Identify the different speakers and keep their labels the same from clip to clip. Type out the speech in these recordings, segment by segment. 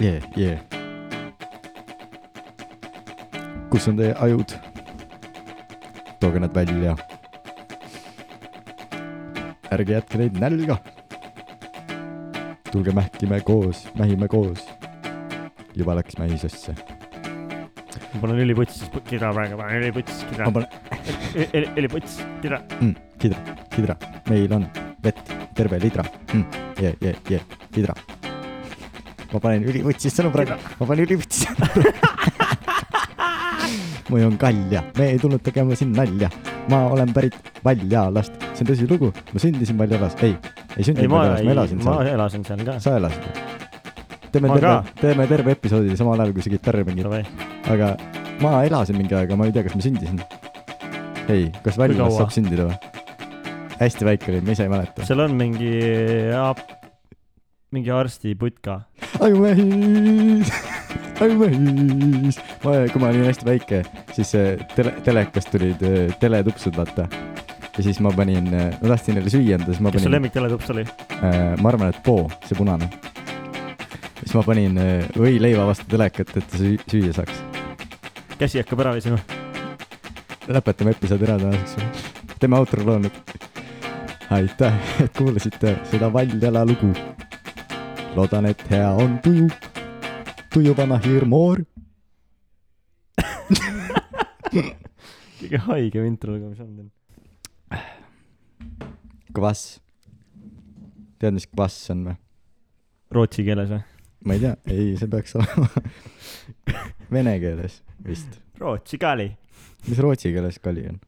Speaker 1: jee , jee . kus on teie ajud ? tooge nad välja . ärge jätke neid nälga . tulge mähkime koos , mähime koos . juba läks mähisesse .
Speaker 2: ma panen õliputsi , siis kida praegu , panen õliputsi ,
Speaker 1: ma
Speaker 2: kida ,
Speaker 1: panen ,
Speaker 2: õliputsi , kida .
Speaker 1: mm, . kidra , kidra , meil on vett , terve lidra mm. . jee , jee , jee , kidra . ma panen ülivõtsis sõnu praegu , ma panen ülivõtsis sõnu . mul on kalja , me ei tulnud tegema siin nalja . ma olen pärit Valjalast , see on tõsilugu , ma sündisin Valjalas , ei , ei
Speaker 2: ei ,
Speaker 1: sündinud
Speaker 2: ma
Speaker 1: Valjalas , ma
Speaker 2: ei
Speaker 1: elasin ,
Speaker 2: ma
Speaker 1: seal ,
Speaker 2: elasin seal ka .
Speaker 1: sa elasid või ? teeme
Speaker 2: Ma
Speaker 1: terve
Speaker 2: ka. ,
Speaker 1: teeme terve episoodi samal ajal kui sa kitarri mängid ,
Speaker 2: Davai ,
Speaker 1: aga ma elasin mingi aega , ma ei tea , kas ma sündisin . ei , kas Valjalas
Speaker 2: kaua?
Speaker 1: saab sündida või ? hästi väike olin , ma ise ei mäleta .
Speaker 2: seal on mingi , mingi arstiputka .
Speaker 1: ajumehis , ajumehis . ma , kui ma olin hästi väike , siis äh, tele , telekast tulid äh, teletupsud , vaata . ja siis ma panin , ma tahtsin neile süüa anda , siis ma
Speaker 2: kes su
Speaker 1: panin ,
Speaker 2: lemmik teletups oli ?
Speaker 1: ma arvan , et poo , see punane . siis ma panin äh, võileiva vastu telekat , et ta süü- süüa saaks .
Speaker 2: käsi hakkab ära visima .
Speaker 1: lõpetame episoodi ära tänaseks . teeme outro loo nüüd . aitäh , et kuulasite seda Valjala lugu . loodan , et hea on tuju . tuju vana hirmoor .
Speaker 2: kõige haigem intro lugemise on teil .
Speaker 1: kvass . tead , mis kvass on või ?
Speaker 2: Rootsi keeles või ?
Speaker 1: ma ei tea , ei , see peaks olema vene keeles vist .
Speaker 2: Rootsi kali .
Speaker 1: mis rootsi keeles kali on ?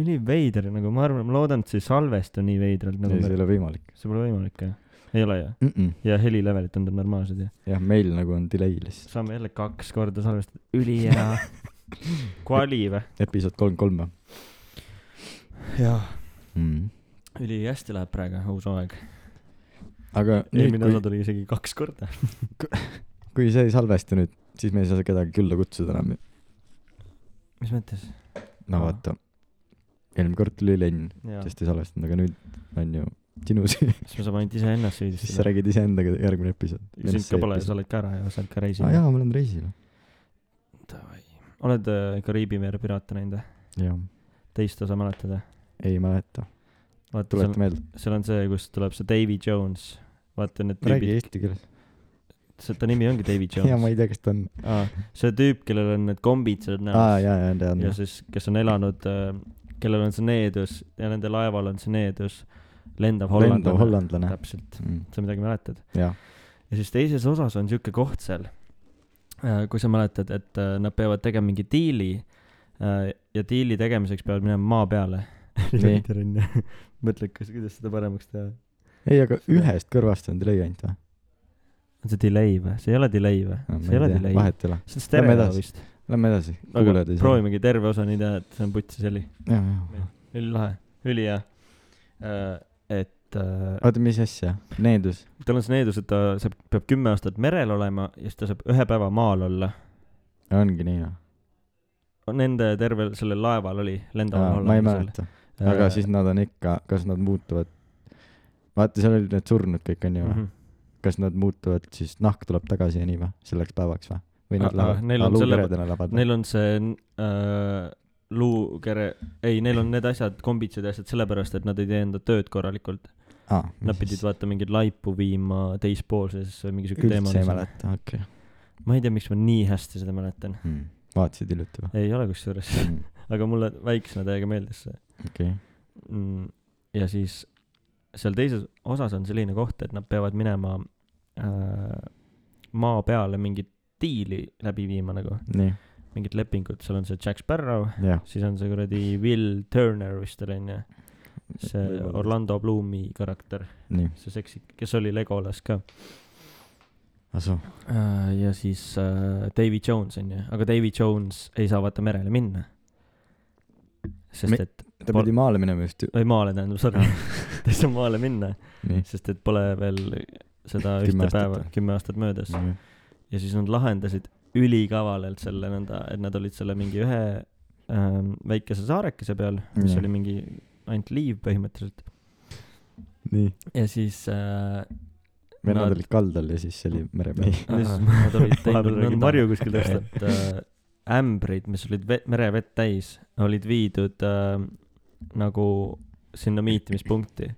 Speaker 2: üli veider nagu , ma arvan , ma loodan , et see ei salvesta nii veidralt nagu
Speaker 1: ei , see
Speaker 2: me
Speaker 1: ei , ole võimalik
Speaker 2: see pole võimalik jah . ei ole ju .
Speaker 1: mm . -mm.
Speaker 2: ja helilevelid tundub normaalsed ja
Speaker 1: jah , meil nagu on delay lihtsalt .
Speaker 2: saame jälle kaks korda salvestada . ülihea . kvali või ?
Speaker 1: episood kolm kolm või
Speaker 2: jah .
Speaker 1: mm. ?
Speaker 2: ülihästi läheb praegu , uus hooaeg .
Speaker 1: aga nüüd ,
Speaker 2: eelmine
Speaker 1: kui
Speaker 2: osa tuli isegi kaks korda .
Speaker 1: kui see ei salvesta nüüd , siis me ei saa kedagi külla kutsuda enam ju .
Speaker 2: mis mõttes ?
Speaker 1: no
Speaker 2: Aa.
Speaker 1: vaata , eelmine kord tuli Len ,
Speaker 2: jaa ,
Speaker 1: sest ei salvestanud , aga nüüd on ju sinu süü ,
Speaker 2: siis me saame ainult iseennast
Speaker 1: siis sa
Speaker 2: süüdistada .
Speaker 1: räägid iseendaga järgmine episood .
Speaker 2: sind ka pole , sa oled ka ära ja sa oled ka reisil
Speaker 1: aa . jaa , ma olen reisil .
Speaker 2: oled äh, Kariibi mere piraate näinud või ?
Speaker 1: jah ,
Speaker 2: teist osa mäletad või ?
Speaker 1: ei mäleta ,
Speaker 2: vaata , seal
Speaker 1: tuleta , meelde ,
Speaker 2: seal on see , kus tuleb see Davy Jones . vaata need
Speaker 1: räägi
Speaker 2: tüübid ,
Speaker 1: eesti keeles .
Speaker 2: see ta nimi ongi Davy
Speaker 1: ja ma
Speaker 2: Jones .
Speaker 1: ei tea , kes ta on .
Speaker 2: Aa, see tüüp , kellel on need kombid seal
Speaker 1: aa ,
Speaker 2: näos
Speaker 1: jaa , jaa , tean
Speaker 2: ja . siis , kes on elanud , kellel on see needus ja nende laeval on see needus , lendav
Speaker 1: lendav
Speaker 2: hollandlane .
Speaker 1: hollandlane . Mm,
Speaker 2: täpselt , sa midagi mäletad ?
Speaker 1: jah ,
Speaker 2: ja siis teises osas on sihuke koht seal , kui sa mäletad , et äh, nad peavad tegema mingi diili äh, ja diili tegemiseks peavad minema maa peale .
Speaker 1: Nii.
Speaker 2: mõtle , kas , kuidas seda paremaks teha .
Speaker 1: ei , aga ühest kõrvast on delay ainult või ?
Speaker 2: on see delay või ? see ei ole delay või ? see ei ole delay .
Speaker 1: vahet ei ole .
Speaker 2: see on
Speaker 1: Lähme
Speaker 2: stereo
Speaker 1: edasi.
Speaker 2: vist .
Speaker 1: Lähme edasi ,
Speaker 2: aga
Speaker 1: kuulajad ei saa .
Speaker 2: proovimegi terve osa nii teha , et see on putsi selli .
Speaker 1: jaa , jaa .
Speaker 2: ülilahe , ülihea . et äh,
Speaker 1: oota , mis asja ? needus ?
Speaker 2: tal on see needus , et ta saab , peab kümme aastat merel olema ja siis ta saab ühe päeva maal olla .
Speaker 1: ongi nii või ?
Speaker 2: Nende tervel sellel laeval oli , nagu lendaval
Speaker 1: ma ei mäleta . aga
Speaker 2: Äh.
Speaker 1: siis nad on ikka , kas nad muutuvad , vaata , seal olid need surnud kõik onju
Speaker 2: Mhm.
Speaker 1: mm , -hmm. kas nad muutuvad siis , nahk tuleb tagasi ja nii või , selleks päevaks või ? või nad
Speaker 2: Ah, ah,
Speaker 1: lähevad ,
Speaker 2: neil on selle-
Speaker 1: luukeredena lähevad või ?
Speaker 2: Neil on see äh, luukere , ei , neil on need asjad , kombitsid ja asjad sellepärast , et nad ei tee enda tööd korralikult .
Speaker 1: aa ,
Speaker 2: Nad pidid vaata mingeid laipu viima teispoolsesse või mingi siuke teema .
Speaker 1: üldse ei . mäleta , okei okay.
Speaker 2: ma ei tea , miks ma nii hästi seda mäletan .
Speaker 1: hmm. . vaatasid hiljuti või
Speaker 2: ei ole kusjuures ,
Speaker 1: mm. ?
Speaker 2: aga mulle väiksena täiega meeldis see
Speaker 1: okei okay. ,
Speaker 2: mm, . ja siis seal teises osas on selline koht , et nad peavad minema äh, maa peale mingit diili läbi viima nagu ,
Speaker 1: nii ,
Speaker 2: mingit lepingut , seal on see Jack Sparrow
Speaker 1: jah .
Speaker 2: siis on see kuradi Will Turner vist oli onju , see
Speaker 1: Võib-olla.
Speaker 2: Orlando Bloomi karakter ,
Speaker 1: nii ,
Speaker 2: see seksik , kes oli Legolas ka .
Speaker 1: asu ,
Speaker 2: ja siis äh, Davy Jones onju , aga Davy Jones ei saa vaata merele minna . sest
Speaker 1: Mi-
Speaker 2: Me... et ,
Speaker 1: ta
Speaker 2: Pol-
Speaker 1: pidi maale minema just ju ,
Speaker 2: või maale tähendab , sorry , ta ei saa maale minna ,
Speaker 1: nii .
Speaker 2: sest et pole veel seda
Speaker 1: Kümme aastat
Speaker 2: ühte päeva
Speaker 1: või? ,
Speaker 2: kümme aastat möödas
Speaker 1: Nii.
Speaker 2: ja siis nad lahendasid ülikavalalt selle nõnda , et nad olid selle mingi ühe ähm, väikese saarekese peal , mis
Speaker 1: Jah.
Speaker 2: oli mingi ainult liiv põhimõtteliselt .
Speaker 1: nii ,
Speaker 2: ja siis äh,
Speaker 1: vennad
Speaker 2: Nad-
Speaker 1: olid kaldal ja siis oli meremees .
Speaker 2: Nad olid teinud
Speaker 3: Vahepeal mingi
Speaker 2: nõnda ,
Speaker 3: marju kuskil tõsta.
Speaker 2: et äh, ämbrid , mis olid ve- , merevett täis , olid viidud äh, nagu sinna miitimispunkti .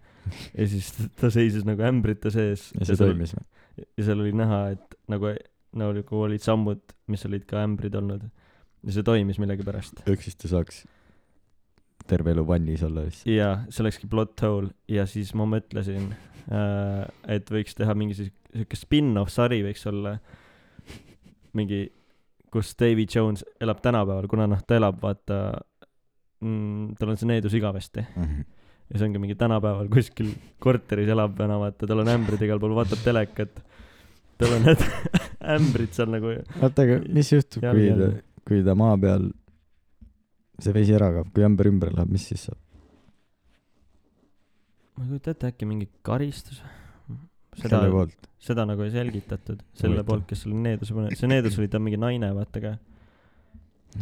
Speaker 2: ja siis ta- ta seisis nagu ämbrite sees .
Speaker 1: ja see
Speaker 2: seal,
Speaker 1: toimis või ?
Speaker 2: ja seal oli näha , et nagu , nagu olid sammud , mis olid ka ämbrid olnud . ja see toimis millegipärast .
Speaker 1: ehk siis ta saaks terve elu vannis olla vist .
Speaker 2: jaa , see olekski plot hole ja siis ma mõtlesin äh, , et võiks teha mingi siis- sihuke spin-off sari võiks olla mingi , kus Davy Jones elab tänapäeval , kuna noh , ta elab vaata mm, , tal on see needus igavesti
Speaker 1: Mhm.
Speaker 2: ja see ongi mingi tänapäeval kuskil korteris elab vana , vaata , tal on ämbrid igal pool , vaatab telekat , tal on need ämbrid seal nagu
Speaker 1: oota , aga mis juhtub , kui
Speaker 2: Jalge
Speaker 1: ta
Speaker 2: all. ,
Speaker 1: kui ta maa peal , see vesi ära kaob , kui ämber ümber läheb , mis siis saab ?
Speaker 2: ma ei kujuta ette , äkki mingi karistus ? seda
Speaker 1: selle , poolt .
Speaker 2: seda nagu ei selgitatud , selle
Speaker 1: Huvitav.
Speaker 2: poolt , kes selle needuse pani , see needus oli ta mingi naine , vaata ka .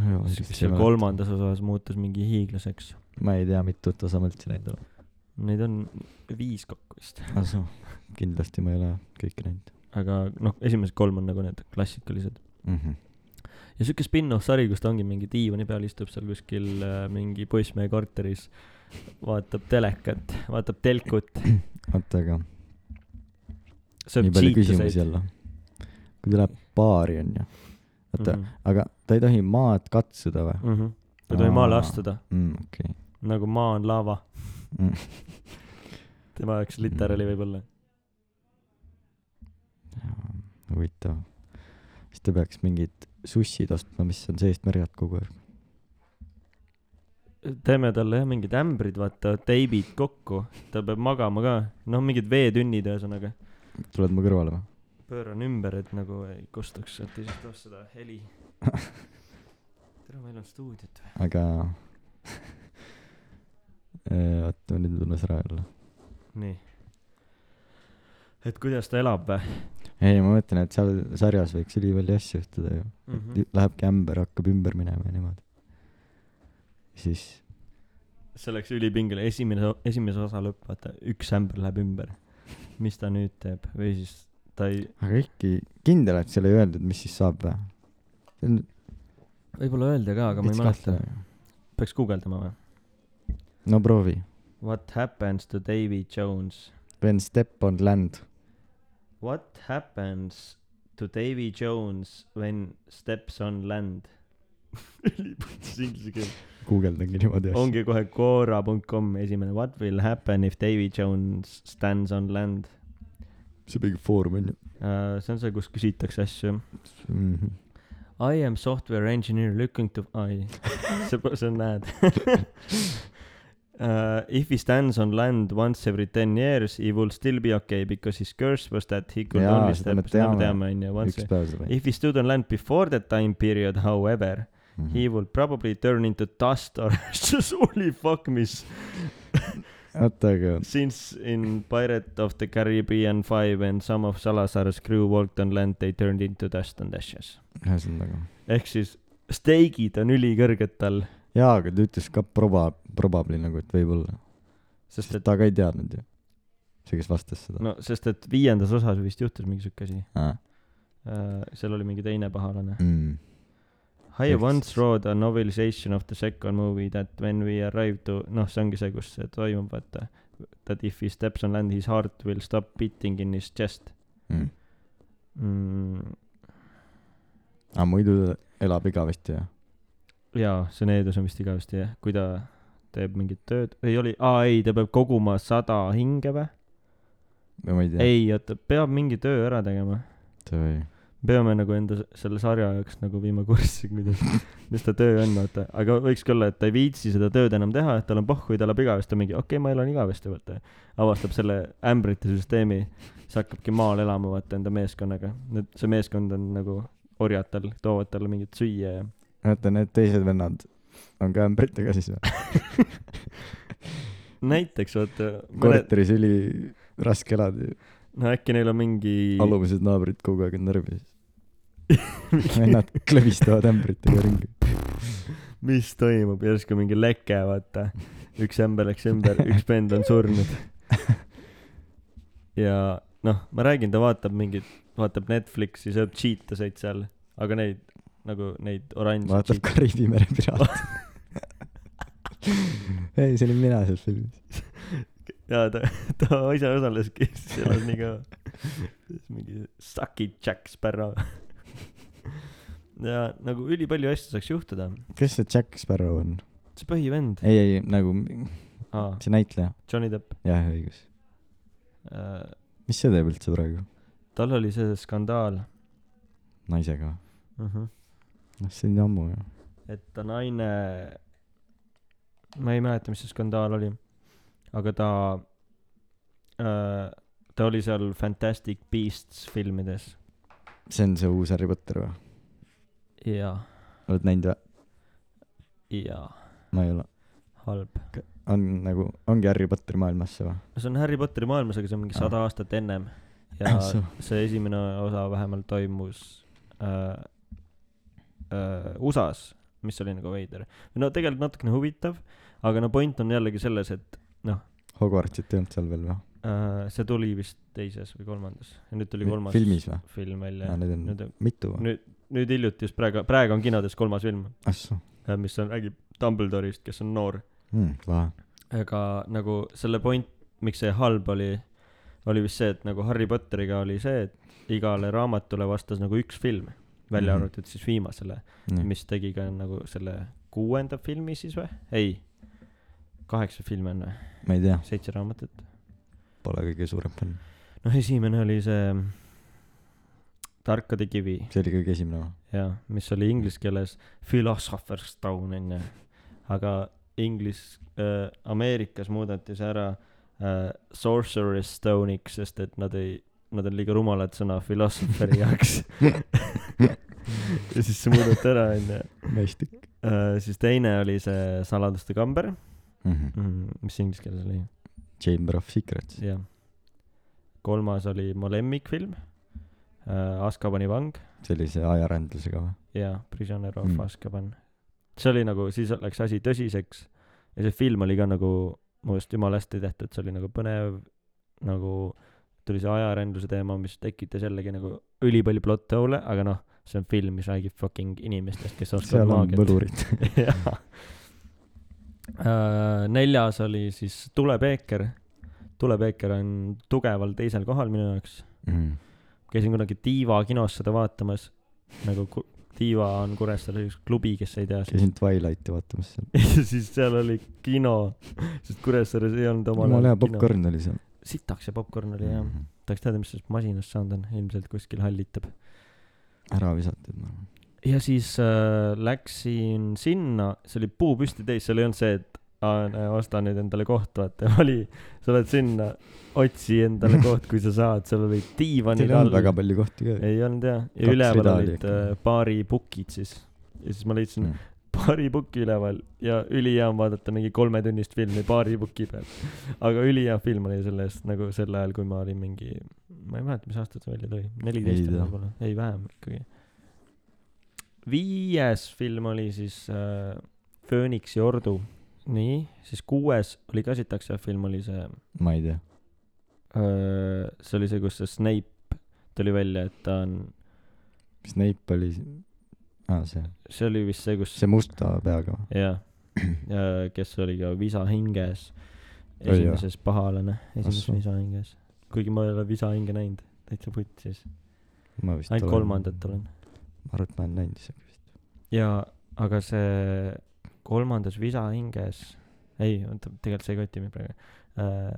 Speaker 1: no joo ,
Speaker 2: siis , kes seal kolmandas osas muutus mingi hiiglaseks .
Speaker 1: ma ei tea , mitut osa ma üldse näinud olen .
Speaker 2: Neid on viis kokku vist .
Speaker 1: asu , kindlasti ma ei ole kõike näinud
Speaker 2: aga noh , esimesed kolm on nagu need klassikalised .
Speaker 1: mm .
Speaker 2: Mhm.
Speaker 1: -hmm.
Speaker 2: ja siuke spin-off sari , kus ta ongi mingi diivani peal , istub seal kuskil äh, mingi poissmehe korteris , vaatab telekat , vaatab telkut ,
Speaker 1: oota , aga
Speaker 2: sööb
Speaker 1: nii palju
Speaker 2: tšiituseid
Speaker 1: küsimusi . jälle . kui ta läheb baari , onju . oota ,
Speaker 2: Mhm.
Speaker 1: aga ta ei tohi maad katsuda
Speaker 2: Mm.
Speaker 1: või ?
Speaker 2: ta ei tohi maale
Speaker 1: Aa.
Speaker 2: astuda ,
Speaker 1: okei .
Speaker 2: nagu maa on laava
Speaker 1: Mm. .
Speaker 2: tema jaoks literaali võib-olla .
Speaker 1: huvitav . siis ta peaks mingid sussid ostma , mis on seest märjad kogu aeg .
Speaker 2: teeme talle jah mingid ämbrid , vaata , teibid kokku , ta peab magama ka , noh , mingid veetünnid ühesõnaga .
Speaker 1: tuled mu kõrvale või ?
Speaker 2: pööran ümber , et nagu ei kustuks sealt teisest toast seda heli . tere , meil on stuudiot või ?
Speaker 1: aga Eh, oota , nüüd tulles ära jälle .
Speaker 2: nii . et kuidas ta elab või
Speaker 1: ei , ma mõtlen , et seal sarjas võiks ülipalju asju juhtuda ju .
Speaker 2: mm ? -hmm.
Speaker 1: Lähebki ämber , hakkab ümber minema ja niimoodi . siis ,
Speaker 2: see läks ülipingele , esimene , esimese osa lõpp , vaata , üks ämber läheb ümber . mis ta nüüd teeb või siis ta ei ,
Speaker 1: aga ikkagi kindel , et seal ei öeldud , mis siis saab või ? see on
Speaker 2: võib-olla öelda ka , aga ma ei
Speaker 1: veits
Speaker 2: mäleta .
Speaker 1: kahtlane .
Speaker 2: peaks guugeldama või ?
Speaker 1: no proovi .
Speaker 2: What happens to Davy Jones ?
Speaker 1: When step on land .
Speaker 2: What happens to Davy Jones when steps on land ? ülipõhjas inglise keel .
Speaker 1: guugeldangi niimoodi asju .
Speaker 2: ongi kohe Quora.com esimene . What will happen if Davy Jones stands on land
Speaker 1: see mingi foorum on ju
Speaker 2: uh, ? see on see , kus küsitakse asju .
Speaker 1: mm . -hmm.
Speaker 2: I am software engineer looking to , ai , see , see on näed uh, . If he stands on land once every ten years , he will still be okay because his curse was that he could
Speaker 1: Jaa,
Speaker 2: only
Speaker 1: seda me
Speaker 2: step , seda me
Speaker 1: teame.
Speaker 2: teame onju , once
Speaker 1: üks päev seda
Speaker 2: If he stood on land before that time period, however,
Speaker 1: mm
Speaker 2: he would probably turn into dust or ashes. Holy fuck me.
Speaker 1: oota , aga
Speaker 2: Since in Pirate of the Caribbean 5 and some of Salazar's crew walked on land, they turned into dust and ashes.
Speaker 1: ühesõnaga .
Speaker 2: ehk siis steigid on ülikõrged tal ,
Speaker 1: jaa , aga ta ütles ka proba- , probably nagu , et võib-olla .
Speaker 2: sest et ,
Speaker 1: ta ka ei teadnud ju . see , kes vastas seda .
Speaker 2: no sest et viiendas osas vist juhtus mingi siuke asi .
Speaker 1: aa .
Speaker 2: seal oli mingi teine pahalane .
Speaker 1: Mm.
Speaker 2: I
Speaker 1: Ehk
Speaker 2: once
Speaker 1: siis-
Speaker 2: wrote a novelization of the second movie that when we arrive to , noh , see ongi see , kus see toimub , vaata . That if he steps on land , his heart will stop beating in his chest
Speaker 1: Mm.
Speaker 2: mm, .
Speaker 1: aga muidu ta elab igavesti ja
Speaker 2: jaa , see needus on vist igavesti jah , kui ta teeb mingit tööd , ei oli , aa ei , ta peab koguma sada hinge või ?
Speaker 1: või ma ei tea .
Speaker 2: ei , oota , peab mingi töö ära tegema .
Speaker 1: või
Speaker 2: peame nagu enda s- selle sarja jaoks nagu viima kurssi , kuidas , mis ta töö on , vaata . aga võikski olla , et ta ei viitsi seda tööd enam teha , et tal on pohhu ja ta elab igavesti , mingi okei okay, , ma elan igavesti , vaata . avastab selle ämbrite süsteemi , siis hakkabki maal elama , vaata , enda meeskonnaga . nüüd see meeskond on nagu orjad tal , toovad talle mingit süüa ja
Speaker 1: oota , need teised vennad on ka ämbritega siis või ?
Speaker 2: näiteks vaata , mõned ,
Speaker 1: korteris üli raske elada ju .
Speaker 2: no äkki neil on mingi
Speaker 1: alumised naabrid kogu aeg on närvis . vennad klõbistavad ämbritega ringi .
Speaker 2: mis toimub , järsku mingi leke , vaata . üks ämber läks ümber , üks vend on surnud . ja noh , ma räägin , ta vaatab mingit , vaatab Netflixi , sööb cheetaseid seal , aga neid nagu neid oranžeid
Speaker 1: vaatab Kariibi mere piraate . ei , see olin mina selles filmis .
Speaker 2: ja ta , ta ise osaleski selles nii kaua . mingi Sucky Jack Sparrow . ja nagu ülipalju asju saaks juhtuda .
Speaker 1: kes see Jack Sparrow on ?
Speaker 2: see põhivend ,
Speaker 1: ei , ei nagu m-
Speaker 2: aa ,
Speaker 1: see näitleja .
Speaker 2: Johnny Depp
Speaker 1: jah , õigus .
Speaker 2: äh, .
Speaker 1: mis see teeb üldse praegu ?
Speaker 2: tal oli see skandaal
Speaker 1: naisega ?
Speaker 2: uh ,
Speaker 1: Mhm.
Speaker 2: -huh.
Speaker 1: noh , see on nii ammu ju .
Speaker 2: et ta naine , ma ei mäleta , mis see skandaal oli , aga ta äh, , ta oli seal Fantastic Beasts filmides
Speaker 1: see on see uus Harry Potter või ?
Speaker 2: ja ,
Speaker 1: oled näinud või ?
Speaker 2: ja
Speaker 1: ma ei ole .
Speaker 2: halb .
Speaker 1: on nagu , ongi Harry Potteri maailmas see või ?
Speaker 2: no see on Harry Potteri maailmas , aga see on mingi
Speaker 1: Ah.
Speaker 2: sada aastat ennem ja
Speaker 1: Ah, soo.
Speaker 2: see esimene osa vähemalt toimus äh, äh, USA-s , mis oli nagu veider . no tegelikult natukene huvitav , aga no point on jällegi selles , et
Speaker 1: Hogwartsit ei olnud seal veel või ?
Speaker 2: äh, see tuli vist teises või kolmandas ja nüüd tuli
Speaker 1: Mi-
Speaker 2: kolmas
Speaker 1: filmis või?
Speaker 2: film välja
Speaker 1: aa , need on
Speaker 2: nüüd ,
Speaker 1: mitu või ?
Speaker 2: nüüd , nüüd hiljuti just praegu , praegu on kinodes kolmas film ,
Speaker 1: ahsoo
Speaker 2: mis on , räägib Dumbledore'ist , kes on noor
Speaker 1: mm, , lahe .
Speaker 2: aga nagu selle point , miks see halb oli , oli vist see , et nagu Harry Potteriga oli see , et igale raamatule vastas nagu üks film , välja
Speaker 1: Mhm.
Speaker 2: arvatud siis viimasele ,
Speaker 1: nii ,
Speaker 2: mis tegi ka nagu selle kuuenda filmi siis või ? ei , kaheksa filmi on või ,
Speaker 1: ma ei tea ,
Speaker 2: seitse raamatut .
Speaker 1: pole kõige suurem fänn .
Speaker 2: noh , esimene oli see Tarkade kivi
Speaker 1: see oli kõige esimene või ?
Speaker 2: jaa , mis oli inglise keeles Philosopher's Stone onju , aga inglis- äh, , Ameerikas muudeti see ära äh, Sorcerer's Stone'iks , sest et nad ei , nad on liiga rumalad sõna philosopher'i jaoks . ja siis see muudeti ära onju
Speaker 1: mõistlik
Speaker 2: äh, . siis teine oli see Saladuste kamber
Speaker 1: mm . -hmm.
Speaker 2: mm, , mis inglise keeles oli ,
Speaker 1: Chamber of Secrets .
Speaker 2: jah . kolmas oli mu lemmikfilm äh, , Azkabani vang .
Speaker 1: see oli see ajarändlusega või ?
Speaker 2: jaa , Prisoner of
Speaker 1: Mm.
Speaker 2: mm. Azkaban . see oli nagu , siis läks asi tõsiseks ja see film oli ka nagu mu arust jumala hästi tehtud , see oli nagu põnev , nagu tuli see ajarändluse teema , mis tekitas jällegi nagu ülipalju plot hole'e , aga noh , see on film , mis räägib fucking inimestest , kes oskavad
Speaker 1: seal on
Speaker 2: maagiat .
Speaker 1: võlurid .
Speaker 2: jaa . neljas oli siis Tulepeeker . tulepeeker on tugeval teisel kohal minu jaoks
Speaker 1: mm. .
Speaker 2: käisin kunagi Tiiva kinos seda vaatamas , nagu ku- Tiiva on Kuressaare üks klubi , kes ei tea .
Speaker 1: käisin Twilighti vaatamas seal .
Speaker 2: ja siis seal oli kino , sest Kuressaares ei olnud omal
Speaker 1: jumala hea . popkorn Mm. oli seal . Mhm.
Speaker 2: sitaks see popkorn oli jah , tahaks teada , mis sellest masinast saanud on , ilmselt kuskil hallitab .
Speaker 1: ära visatud noh. ma arvan .
Speaker 2: ja siis äh, läksin sinna , see oli puu püsti täis , seal ei olnud see , et aa, näe, osta nüüd endale koht , vaata , oli , sa lähed sinna , otsi endale koht , kui sa saad , seal oli diivanid
Speaker 1: seal ei olnud väga palju kohti ka .
Speaker 2: ei olnud jah , ja
Speaker 1: Kaks
Speaker 2: üleval
Speaker 1: rida oli
Speaker 2: olid
Speaker 1: äkki.
Speaker 2: äh, baaripukid siis . ja siis ma leidsin
Speaker 1: Mm.
Speaker 2: mm. baaripukki üleval ja ülihea on vaadata mingi kolmetunnist filmi baaripuki peal . aga ülihea film oli selle eest nagu sel ajal , kui ma olin mingi , ma ei mäleta , mis aastat see välja tuli ,
Speaker 1: Ei
Speaker 2: neliteist
Speaker 1: tea.
Speaker 2: võib-olla , ei vähem ikkagi . viies film oli siis äh, Fööniksi ordu . nii , siis kuues oli ka sitaks jah , film oli see
Speaker 1: ma ei tea .
Speaker 2: öö, see oli see , kus see Snape tuli välja , et ta on
Speaker 1: Snape oli , aa see ,
Speaker 2: see oli vist see , kus
Speaker 1: see musta peaga või ?
Speaker 2: jah , kes oli ka visa hinges ,
Speaker 1: Oli, jah?
Speaker 2: esimeses pahalane , esimeses
Speaker 1: Ahsoo.
Speaker 2: visa hinges . kuigi ma ei ole visa hinge näinud , täitsa putsis ,
Speaker 1: ma vist
Speaker 2: ainult kolmandat olen .
Speaker 1: ma arvan , et ma olen näinud isegi vist .
Speaker 2: ja , aga see kolmandas visa hinges , ei , oota , tegelikult see ei koti mind praegu äh, .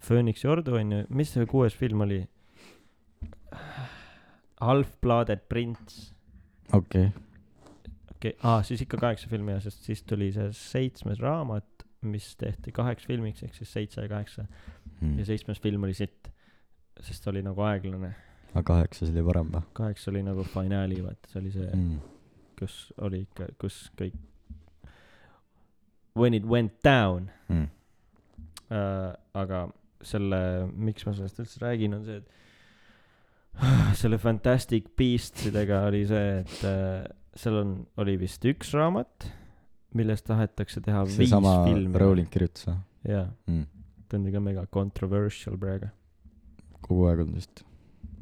Speaker 2: Phoenixi ordu on ju , mis see kuues film oli ? Half-Blooded Prince
Speaker 1: okei okay. ,
Speaker 2: okei okay. , aa , siis ikka kaheksa filmi ja sest siis tuli see seitsmes raamat , mis tehti kaheks filmiks ehk siis seitse ja kaheksa ja
Speaker 1: mm.
Speaker 2: seitsmes film oli sitt , sest ta oli nagu aeglane ,
Speaker 1: aga kaheksas oli varem või
Speaker 2: kaheksa oli nagu finaali , vaata see oli see ,
Speaker 1: mm. ?
Speaker 2: kus oli ikka , kus kõik . When it went down
Speaker 1: Mm.
Speaker 2: äh, , aga selle , miks ma sellest üldse räägin , on see , et selle Fantastic Beasts idega oli see , et äh, seal on , oli vist üks raamat , millest tahetakse teha see viis
Speaker 1: seesama
Speaker 2: filmi .
Speaker 1: Rowling kirjutas või
Speaker 2: jaa
Speaker 1: mm. ?
Speaker 2: ta on ikka mega controversial praegu .
Speaker 1: kogu aeg olnud vist ,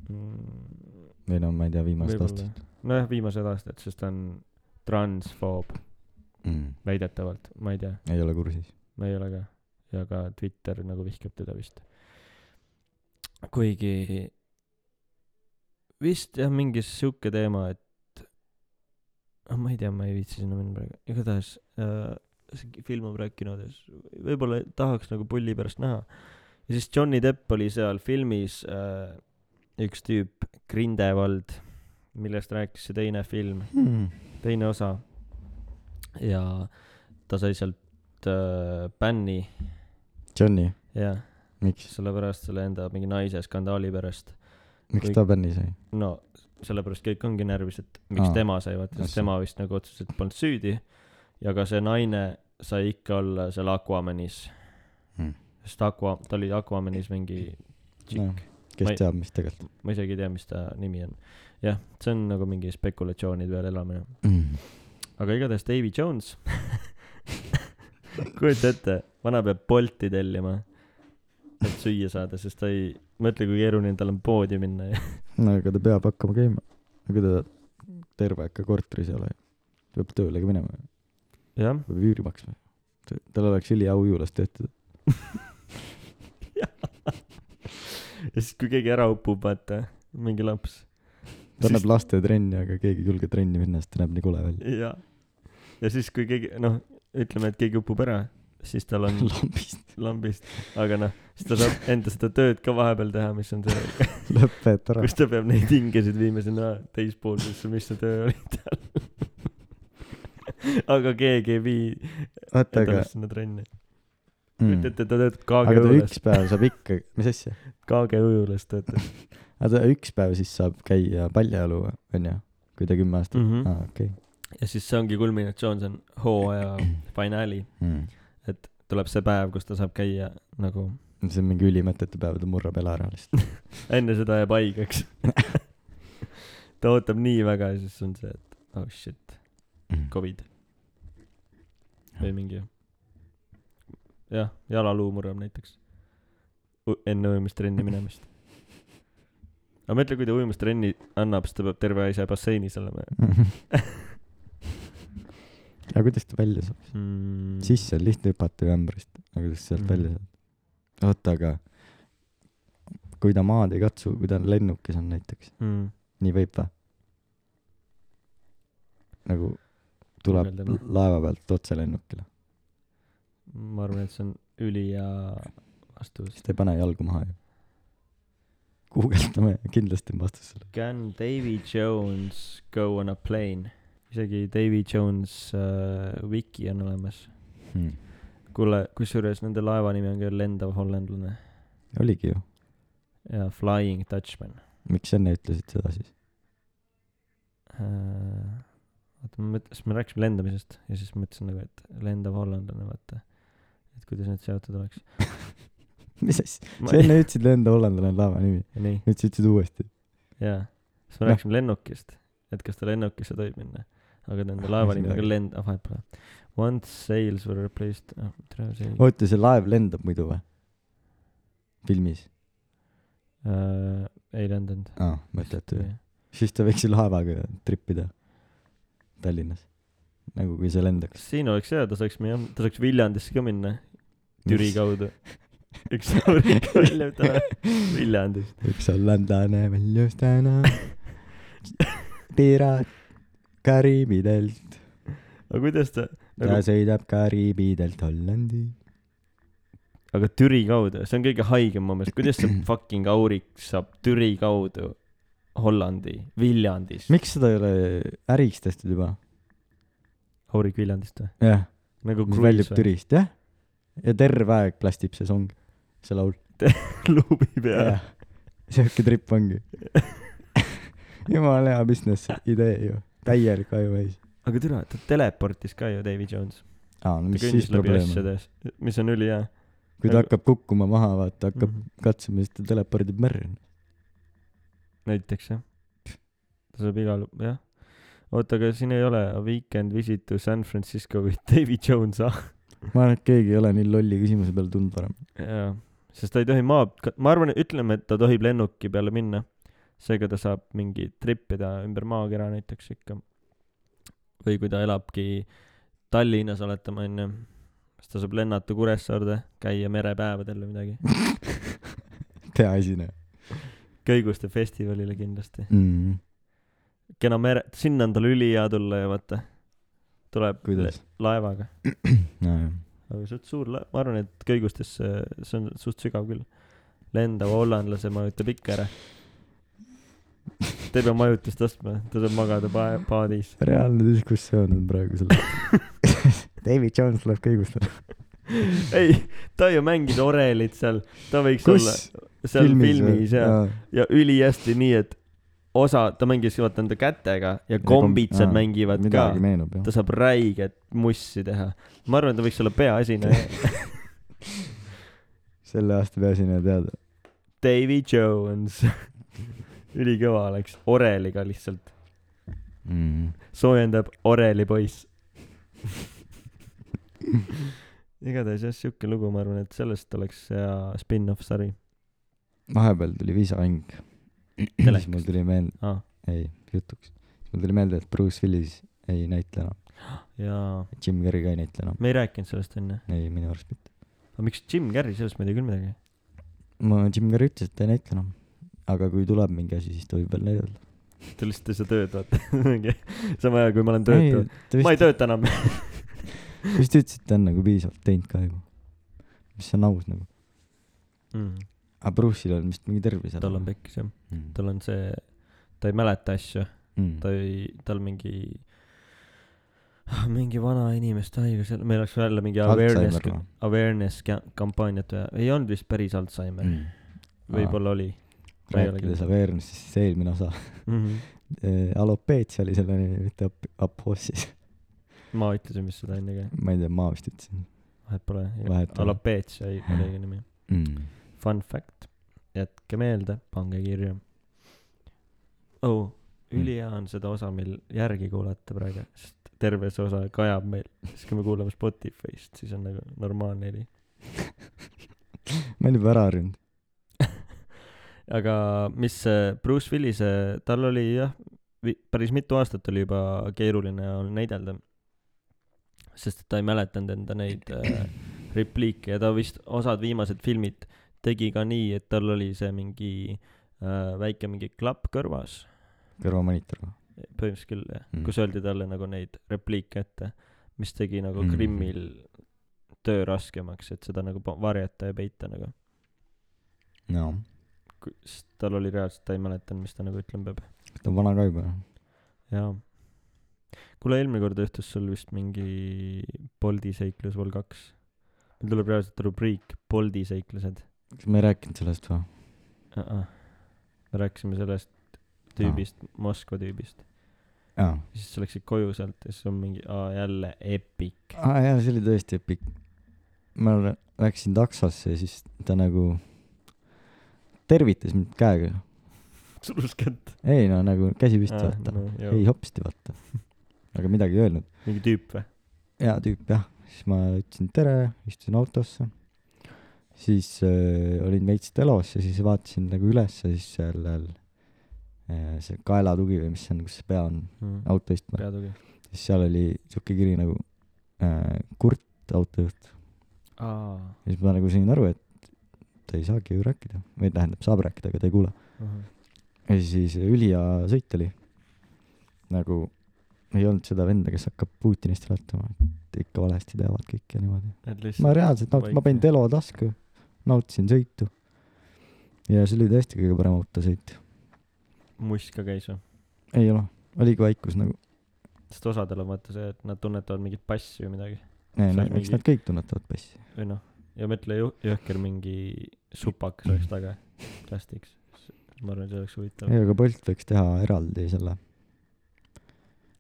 Speaker 2: mm, .
Speaker 1: või no ma ei tea , viimasest aastast .
Speaker 2: nojah , viimased aastad , sest ta on transfoob
Speaker 1: mm. .
Speaker 2: väidetavalt , ma ei tea ,
Speaker 1: ei ole kursis .
Speaker 2: ma ei ole ka . ja ka Twitter nagu vihkab teda vist . kuigi vist jah , mingi sihuke teema , et Ah, ma ei tea , ma ei viitsi sinna minna praegu , igatahes äh, see film on praegu kinodes , võib-olla tahaks nagu pulli pärast näha . ja siis Johnny Depp oli seal filmis äh, üks tüüp , Grindelwald , millest rääkis see teine film ,
Speaker 1: Hmm.
Speaker 2: teine osa . ja ta sai sealt äh, bänni
Speaker 1: Johnny ,
Speaker 2: ja
Speaker 1: miks ,
Speaker 2: sellepärast selle enda mingi naise skandaali pärast .
Speaker 1: miks
Speaker 2: Kõik-
Speaker 1: ta bänni sai ?
Speaker 2: no sellepärast kõik ongi närvis , et miks
Speaker 1: Aa,
Speaker 2: Aa, tema sai , vaata ,
Speaker 1: just.
Speaker 2: sest tema vist nagu otseselt polnud süüdi . ja ka see naine sai ikka olla seal Aquamanis
Speaker 1: Hmm.
Speaker 2: hmm. . sest Aqua , ta oli Aquamanis mingi tšikk
Speaker 1: No, kes
Speaker 2: Ma
Speaker 1: ei...
Speaker 2: ei-
Speaker 1: teab , mis tegelikult
Speaker 2: ma isegi ei tea , mis ta nimi on . jah , see on nagu mingi spekulatsioonide peal elamine .
Speaker 1: mm. .
Speaker 2: aga igatahes Davy Jones . kujuta ette , vana peab Bolti tellima , et süüa saada , sest ta ei , mõtle , kui keeruline tal on poodi minna ja
Speaker 1: no aga ta peab hakkama käima . ega ta terve aeg ka korteris ei ole . peab tööle ka minema ,
Speaker 2: jah ,
Speaker 1: peab üüri maksma . tal oleks ülihea ujulas töötada .
Speaker 2: ja siis , kui keegi ära upub , vaata , mingi laps .
Speaker 1: ta annab laste trenni , aga keegi ei julge trenni minna , sest ta näeb nii kole välja .
Speaker 2: ja , ja siis , kui keegi , noh , ütleme , et keegi upub ära , siis tal on
Speaker 1: lambist
Speaker 2: lambist , aga noh , siis ta saab enda seda tööd ka vahepeal teha , mis on see
Speaker 1: lõpeta ära .
Speaker 2: kus ta peab neid hingesid viima sinna teispoolsesse , mis see töö oli tal . aga keegi ei vii
Speaker 1: oota , aga
Speaker 2: endast sinna trenni .
Speaker 1: mm.
Speaker 2: kujuta . ette , ta töötab
Speaker 1: aga
Speaker 2: KG
Speaker 1: ta
Speaker 2: ujulas
Speaker 1: üks , päev saab ikka , mis asja ?
Speaker 2: KG ujulas töötab
Speaker 1: aga ta üks päev siis saab käia paljajalu , onju , kui ta kümme aastat
Speaker 2: mm . -hmm.
Speaker 1: aa , okei .
Speaker 2: ja siis see ongi kulminatsioon , see on hooaja finaali , Mhm. tuleb see päev , kus ta saab käia nagu ,
Speaker 1: see on mingi ülimõttetu päev , ta murrab jala ära lihtsalt .
Speaker 2: enne seda jääb haigeks . ta ootab nii väga ja siis on see , et oh shit , Covid või mingi jah , jalaluu murrab näiteks U- enne ujumistrenni minemist aga mõtle kui ta ujumistrenni annab siis ta peab terve aja ise basseinis olema
Speaker 1: aga kuidas ta välja saab ?
Speaker 2: mm.
Speaker 1: sisse on lihtne hüpata ju ämbrist , aga kuidas sealt
Speaker 2: Mhm.
Speaker 1: välja saab ? oota , aga kui ta maad ei katsu , kui ta on lennukis on näiteks ,
Speaker 2: mm.
Speaker 1: nii võib vä ? nagu tuleb
Speaker 2: Guugeldame.
Speaker 1: laeva pealt otse lennukile ,
Speaker 2: ma arvan et see on ülihea vastus
Speaker 1: siis ta ei pane jalgu maha ju . guugeldame , kindlasti on vastus sulle .
Speaker 2: Can Davy Jones go on a plane isegi Davy Jones äh, wiki on olemas
Speaker 1: Hmm.
Speaker 2: kuule kusjuures nende laeva nimi on küll lendav hollandlane
Speaker 1: oligi ju ,
Speaker 2: ja Flying Dutchman
Speaker 1: miks enne ütlesid seda siis ?
Speaker 2: Äh, oota , ma mõtlesin , me rääkisime lendamisest ja siis mõtlesin nagu , et lendav hollandlane , vaata . et kuidas need seotud oleks .
Speaker 1: mis asja , sa enne ütlesid lenda hollandlane on laeva nimi ,
Speaker 2: nii ,
Speaker 1: nüüd sa ütlesid uuesti .
Speaker 2: jaa . siis me
Speaker 1: Jah.
Speaker 2: rääkisime lennukist , et kas ta lennukisse tohib minna . aga nende laeva
Speaker 1: ei saa
Speaker 2: nimi on
Speaker 1: midagi.
Speaker 2: ka lend- , ah vahet pole . Once sails were replaced ah, , tere see oli .
Speaker 1: oota , see laev lendab muidu või ? filmis ?
Speaker 2: Äh, ei lendanud .
Speaker 1: aa , mõtletu ju . siis ta võiks ju laevaga tripida Tallinnas . nagu kui see lendaks .
Speaker 2: siin oleks hea , ta saaks , ta saaks Viljandisse ka minna , Türi . kaudu . üks vabariik välja täna , Viljandist .
Speaker 1: üks hollandlane väljus täna . piraat Kariibidelt ,
Speaker 2: aga kuidas ta
Speaker 1: ta
Speaker 2: nagu
Speaker 1: sõidab Kariibidelt Hollandi .
Speaker 2: aga Türi kaudu , see on kõige haigem mu meelest , kuidas see fucking aurik saab Türi kaudu Hollandi , Viljandis .
Speaker 1: miks seda ei ole äriks tehtud juba ?
Speaker 2: aurik Viljandist või ?
Speaker 1: jah ,
Speaker 2: nagu
Speaker 1: mis väljub
Speaker 2: Kruis või ?
Speaker 1: Türist , jah . ja terve aeg plastib see song , see laul .
Speaker 2: klubi peal .
Speaker 1: jah , sihuke trip ongi . jumala hea business idee ju , täielik ajuväis .
Speaker 2: aga türa , ta teleportis ka ju Davy Jones .
Speaker 1: aa , no
Speaker 2: ta
Speaker 1: mis siis
Speaker 2: kõndis läbi
Speaker 1: probleem on ?
Speaker 2: asjades , mis on ülihea .
Speaker 1: kui ta
Speaker 2: nagu-
Speaker 1: hakkab kukkuma maha , vaata , hakkab
Speaker 2: Mhm.
Speaker 1: katsuma , siis ta telepordib merre .
Speaker 2: näiteks jah . ta saab igal , jah . oota , aga siin ei ole A Weekend Visit to San Francisco with Davy Jones , ah .
Speaker 1: ma arvan , et keegi ei ole nii lolli küsimuse peale tulnud varem .
Speaker 2: jaa , sest ta ei tohi maa , ma arvan , ütleme , et ta tohib lennuki peale minna . seega ta saab mingi tripida ümber maakera näiteks ikka . või kui ta elabki Tallinnas , oletame onju , siis ta saab lennata Kuressaarde , käia merepäevadel või midagi .
Speaker 1: hea esineja
Speaker 2: Kõiguste festivalile kindlasti .
Speaker 1: mm. .
Speaker 2: kena mere , sinna on tal ülihea tulla ju vaata . tuleb
Speaker 1: kuidas ?
Speaker 2: le- laevaga .
Speaker 1: nojah ,
Speaker 2: aga see on suur laev , ma arvan , et Kõigustesse , see on suht sügav küll . lendava hollandlase majutab ikka ära . ta ei pea majutust ostma , ta saab magada pae- , paadis .
Speaker 1: reaalne diskussioon on praegu seal . David Jones läheb kõigustama .
Speaker 2: ei , ta ju mängis orelit seal , ta võiks Kus? olla seal filmis, filmis ja , ja ülihästi nii , et osa , ta mängis vaata enda kätega ja
Speaker 1: Ja kom-
Speaker 2: kombitsad
Speaker 1: aa,
Speaker 2: mängivad ka
Speaker 1: midagi . meenub jah
Speaker 2: ta . saab räiget mussi teha . ma arvan , ta võiks olla peaesineja .
Speaker 1: selle aasta peaesineja teada .
Speaker 2: Davy Jones . ülikõva oleks , oreliga lihtsalt ,
Speaker 1: Mm.
Speaker 2: soojendab oreli poiss . igatahes jah , siuke lugu , ma arvan , et sellest oleks hea spin-off sari
Speaker 1: vahepeal tuli viisaang . siis mul
Speaker 2: telekast .
Speaker 1: tuli meelde ,
Speaker 2: aa ,
Speaker 1: ei , jutuks . siis mul tuli meelde , et Bruce Willis ei näitle enam .
Speaker 2: jaa ,
Speaker 1: Jim Carrey ka ei näitle enam .
Speaker 2: me ei rääkinud sellest enne .
Speaker 1: ei , minu arust mitte .
Speaker 2: aga miks Jim Carrey , sellest ma ei tea küll midagi .
Speaker 1: ma , Jim Carrey ütles , et ta ei näitle enam . aga kui tuleb mingi asi , siis ta võib veel näidata .
Speaker 2: ta lihtsalt ei saa tööd vaata . sama hea , kui ma olen töötu .. ma ei
Speaker 1: ta
Speaker 2: tööta enam .
Speaker 1: vist , vist ütles , et ta on nagu piisavalt teinud ka juba . mis on aus nagu . aga Bruce'il on vist mingi tervis
Speaker 2: Mm, tal on . pekkis jah ,
Speaker 1: Mm.
Speaker 2: tal on see , ta ei mäleta asju . ta
Speaker 1: Mm.
Speaker 2: ei , tal mingi , mingi vanainimeste haigus , meil läks välja mingi
Speaker 1: Alzheimer
Speaker 2: awareness
Speaker 1: või? ,
Speaker 2: awareness ka- kampaaniat vaja , ei olnud vist päris Alžeimer ,
Speaker 1: Mm.
Speaker 2: võib-olla oli ma ei ole
Speaker 1: rääkides
Speaker 2: kindel.
Speaker 1: awareness'ist , siis eelmine osa
Speaker 2: mm . -hmm.
Speaker 1: eh, alopeetsia oli selle nimi , mitte ap- , aphosis .
Speaker 2: ma ütlesin vist seda enne ka ,
Speaker 1: ma ei tea , ma vist ütlesin
Speaker 2: vahet pole
Speaker 1: Vahet , pole.
Speaker 2: alopeetsia oli oli õige nimi .
Speaker 1: mm. .
Speaker 2: Fun fact , jätke meelde , pange kirja . oh , ülihea
Speaker 1: Mm.
Speaker 2: on seda osa meil järgi kuulata praegu , sest terve see osa kajab meil , siis kui me kuulame Spotify'st , siis on nagu normaalne heli .
Speaker 1: ma olin juba ära harjunud .
Speaker 2: aga mis see Bruce Willise , tal oli jah , päris mitu aastat oli juba keeruline olnud näidelda . sest et ta ei mäletanud enda neid äh, repliike ja ta vist osad viimased filmid tegi ka nii , et tal oli see mingi äh, väike mingi klapp kõrvas ,
Speaker 1: kõrvamonitor või ?
Speaker 2: põhimõtteliselt küll jah
Speaker 1: Mm.
Speaker 2: mm. , kus öeldi talle nagu neid repliike ette , mis tegi nagu
Speaker 1: Mhm.
Speaker 2: Krimmil töö raskemaks , et seda nagu pa- varjata ja peita nagu .
Speaker 1: jaa .
Speaker 2: sest tal oli reaalselt , ta ei mäletanud , mis ta nagu ütlema peab .
Speaker 1: ta on vana ka juba .
Speaker 2: jaa . kuule , eelmine kord juhtus sul vist mingi Boldi seiklus vol kaks . meil tuleb reaalselt rubriik Boldi seiklused
Speaker 1: kas me ei rääkinud sellest või ?
Speaker 2: uh . -uh. me rääkisime sellest tüübist no. , Moskva tüübist .
Speaker 1: jaa .
Speaker 2: siis sa läksid koju sealt ja siis on mingi , aa jälle epic .
Speaker 1: aa Ah, jaa , see oli tõesti epic . ma lä- läksin taksosse ja siis ta nagu tervitas mind käega .
Speaker 2: surus kätt .
Speaker 1: ei no nagu käsi püsti vaata . ei
Speaker 2: mingi
Speaker 1: hopsti vaata . aga midagi ei öelnud .
Speaker 2: tüüp või ?
Speaker 1: hea tüüp jah , siis ma ütlesin tere , istusin autosse , siis äh, olin veits telos ja siis vaatasin nagu ülesse , siis sellel äh, see kaelatugi või mis see on , kus see pea on ,
Speaker 2: Mm.
Speaker 1: auto istme ,
Speaker 2: peatugi .
Speaker 1: siis seal oli siuke kiri nagu äh, kurt autojuht
Speaker 2: aa .
Speaker 1: ja siis ma nagu sain aru , et ta ei saagi ju rääkida või tähendab , saab rääkida , aga ta ei kuule .
Speaker 2: Mhm.
Speaker 1: ja siis ülihea sõit oli . nagu ei olnud seda venda , kes hakkab Putinist rääkima , et ikka valesti teavad kõik ja niimoodi .
Speaker 2: et
Speaker 1: ma
Speaker 2: lihtsalt .
Speaker 1: reaalselt nautisin , ma panin
Speaker 2: vaikne.
Speaker 1: telo tasku , nautisin sõitu . ja see oli tõesti kõige parem autosõit .
Speaker 2: must ka käis või ?
Speaker 1: ei ole , oligi vaikus nagu ,
Speaker 2: sest osadel on vaata see , et nad tunnetavad mingit passi või midagi .
Speaker 1: ei
Speaker 2: See
Speaker 1: no
Speaker 2: on
Speaker 1: eks
Speaker 2: mingi-
Speaker 1: nad kõik tunnetavad passi .
Speaker 2: või noh , ja mõtle ju- , jõhker mingi supakas oleks taga plastiks . ma arvan , see oleks huvitav .
Speaker 1: ei , aga Bolt võiks teha eraldi selle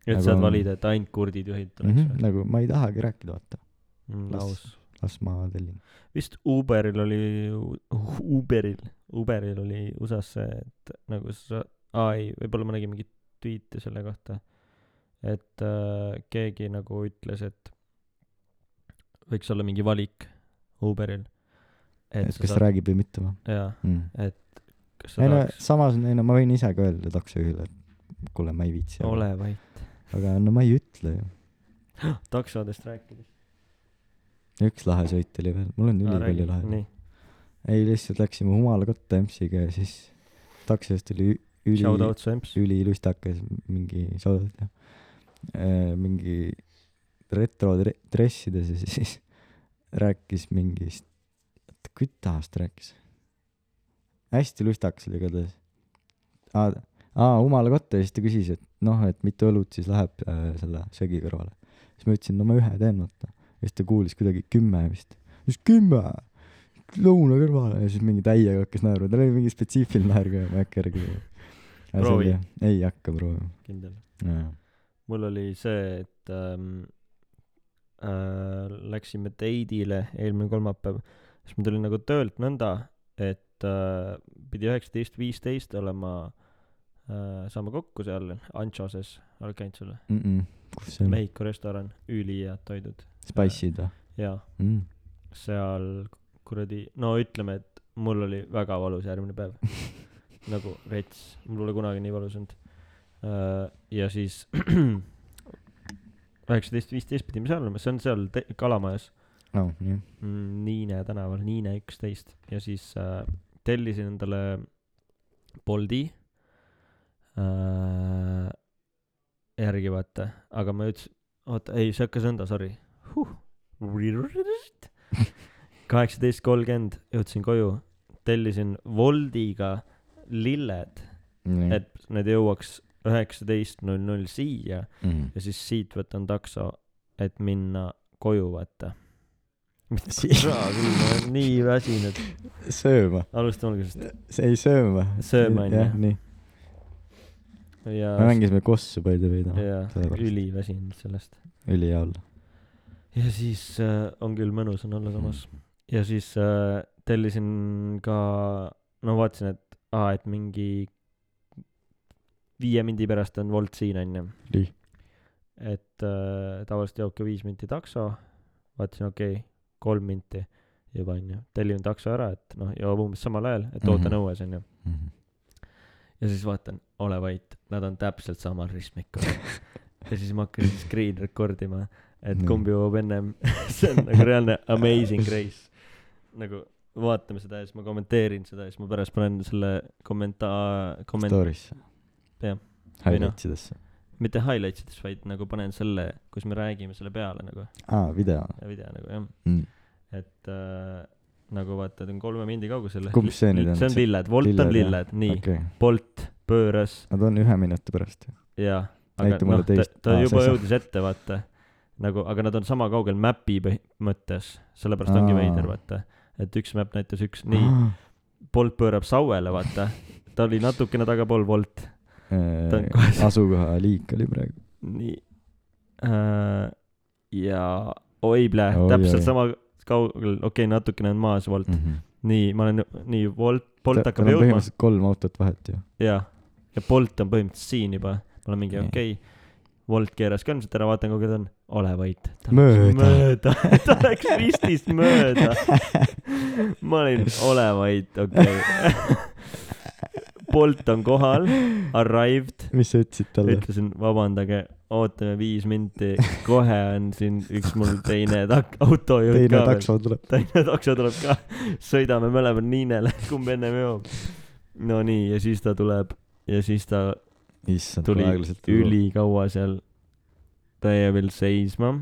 Speaker 2: et
Speaker 1: aga-
Speaker 2: saad valida , et ainult kurdid juhid
Speaker 1: mm ,
Speaker 2: tuleks
Speaker 1: -hmm, nagu ma ei tahagi rääkida , vaata ,
Speaker 2: või ?
Speaker 1: las-
Speaker 2: laos .
Speaker 1: las ma tellin .
Speaker 2: vist Uberil oli ju , Uberil , Uberil oli USA-s see , et nagu sa , aa ei , võib-olla ma nägin mingit tweet'i selle kohta . et äh, keegi nagu ütles , et võiks olla mingi valik Uberil . et
Speaker 1: et kas ta räägib või mitte või
Speaker 2: jaa ,
Speaker 1: mm. ?
Speaker 2: kas sa
Speaker 1: ei no
Speaker 2: tahaks ,
Speaker 1: samas , ei no ma võin ise ka öelda taksojuhile , et kuule , ma ei viitsi .
Speaker 2: ole vait .
Speaker 1: aga no ma ei ütle ju .
Speaker 2: taksodest rääkides .
Speaker 1: üks lahe sõit oli veel , mul on ülipalju lahe .
Speaker 2: nii ,
Speaker 1: ei , lihtsalt läksime Humalakotta EMS-iga ja siis taksojuht oli ü-
Speaker 2: shout
Speaker 1: üli ,
Speaker 2: out su emps .
Speaker 1: ülilustakas , mingi , sa oled jah , mingi retrodressides ja siis rääkis mingist , kütahast rääkis . hästi lustakas oli igatahes . Ah, aa , aa , Humalakotta ja siis ta küsis , et noh , et mitu õlut siis läheb äh, selle söögi kõrvale . siis ma ütlesin , no ma ühe teen , vaata . ja siis ta kuulis kuidagi kümme vist . siis kümme lõuna kõrvale ja siis mingi täiega hakkas naerma , tal oli mingi spetsiifiline naer ka , ma ei hakka järgi .
Speaker 2: Proovi. .
Speaker 1: ei hakka proovima .
Speaker 2: kindel . mul oli see , et ähm, äh, läksime date'ile eelmine kolmapäev , siis ma tulin nagu töölt nõnda , et äh, pidi üheksateist viisteist olema äh, , saama kokku seal Anchoses , oled käinud seal või ?
Speaker 1: kus see on ?
Speaker 2: Mehhiko restoran , ülihead toidud
Speaker 1: Spice'id või
Speaker 2: ja
Speaker 1: mm. ?
Speaker 2: seal kuradi , no ütleme , et mul oli väga valus järgmine päev . nagu rets , mul pole kunagi nii valus olnud . ja siis üheksateist , viisteist pidime seal olema , see on seal te- Kalamajas
Speaker 1: no nii .
Speaker 2: mm, , Niine tänaval , Niine üksteist ja siis äh, tellisin endale Boldi äh, järgi vaata , aga ma ütlesin , oota ei , see hakkas nõnda , sorry huh. . kaheksateist kolmkümmend jõudsin koju , tellisin Woldiga lilled ,
Speaker 1: nii .
Speaker 2: et need jõuaks üheksateist null null siia
Speaker 1: Mm.
Speaker 2: ja siis siit võtan takso , et minna koju , vaata .
Speaker 1: Si-
Speaker 2: nii väsinud ,
Speaker 1: sööma ,
Speaker 2: alustame algusest .
Speaker 1: ei sööma .
Speaker 2: Sööma, on ju.
Speaker 1: jah . nii ,
Speaker 2: ja
Speaker 1: me , mängisime kossu by the way täna ,
Speaker 2: ja
Speaker 1: sellepärast.
Speaker 2: üliväsinud sellest .
Speaker 1: ülihea olla .
Speaker 2: ja siis äh, on küll mõnus on olla samas . ja siis äh, tellisin ka , no vaatasin , et aa , et mingi viie mindi pärast on Wolt siin onju .
Speaker 1: Nii.
Speaker 2: et äh, tavaliselt joobki viis minti takso , vaatasin okei okay, , kolm minti juba onju , tellin takso ära , et noh , jõuab umbes samal ajal , et ootan mm
Speaker 1: Mhm.
Speaker 2: -hmm. õues onju . ja siis vaatan , ole vait , nad on täpselt samal ristmikul . ja siis ma hakkasin screen record ima , et
Speaker 1: Nii.
Speaker 2: kumb jõuab ennem , see on nagu reaalne amazing race . nagu vaatame seda ja siis ma kommenteerin seda ja siis ma pärast panen selle kommenta- , komment- ,
Speaker 1: Story'sse .
Speaker 2: jah. Või noh.
Speaker 1: highlights idesse .
Speaker 2: mitte highlights ides , vaid nagu panen selle , kus me räägime selle peale nagu ,
Speaker 1: aa , video
Speaker 2: video nagu jah ,
Speaker 1: mm. .
Speaker 2: et äh, nagu vaata , ta on kolme mindi kaugusel .
Speaker 1: Kumb see nüüd on?
Speaker 2: see on
Speaker 1: See-
Speaker 2: lilled , Wolt
Speaker 1: Lilled,
Speaker 2: on
Speaker 1: jah.
Speaker 2: lilled , nii
Speaker 1: okei , okay. ,
Speaker 2: Bolt pööras
Speaker 1: nad on ühe minuti pärast .
Speaker 2: jaa , aga
Speaker 1: Näita mulle
Speaker 2: noh , ta
Speaker 1: teist- ,
Speaker 2: ta
Speaker 1: aa,
Speaker 2: juba
Speaker 1: sesa.
Speaker 2: jõudis ette , vaata . nagu , aga nad on sama kaugel mäpi põhi- mõttes , sellepärast ongi
Speaker 1: Aa.
Speaker 2: veider , vaata . et üks mäpp näitas üks , nii , Bolt pöörab Sauele , vaata . ta oli natukene tagapool Bolt , ta on kohe seal ,
Speaker 1: asukoha liik oli praegu .
Speaker 2: nii . ja oi plää
Speaker 1: Oi, , oi.
Speaker 2: täpselt sama kaugel , okei okay, , natukene on maas Bolt .
Speaker 1: Mhm.
Speaker 2: nii , ma olen , nii , Bolt , Mhm. Bolt hakkab jõudma .
Speaker 1: põhimõtteliselt kolm autot vahet ju .
Speaker 2: jaa , ja Bolt on põhimõtteliselt siin juba , ma olen mingi
Speaker 1: Nii.
Speaker 2: okei okay. , Bolt keeras ka ilmselt ära , vaatan kui kaugel ta on , ole vait .
Speaker 1: Mööda.
Speaker 2: mööda , ta läks ristist mööda . ma olin , ole vait , okei okay. . Bolt on kohal , arrived ,
Speaker 1: mis sa ütlesid talle ?
Speaker 2: ütlesin vabandage , ootame viis minti , kohe on siin üks mul teine tak- , autojuht
Speaker 1: teine
Speaker 2: ka veel
Speaker 1: takso tuleb .
Speaker 2: Tallinna takso tuleb ka , sõidame mõlemad Niinele , kumb ennem jõuab . Nonii , ja siis ta tuleb ja siis ta
Speaker 1: issand ,
Speaker 2: tuli
Speaker 1: aeglaselt .
Speaker 2: ülikaua seal täie peal seisma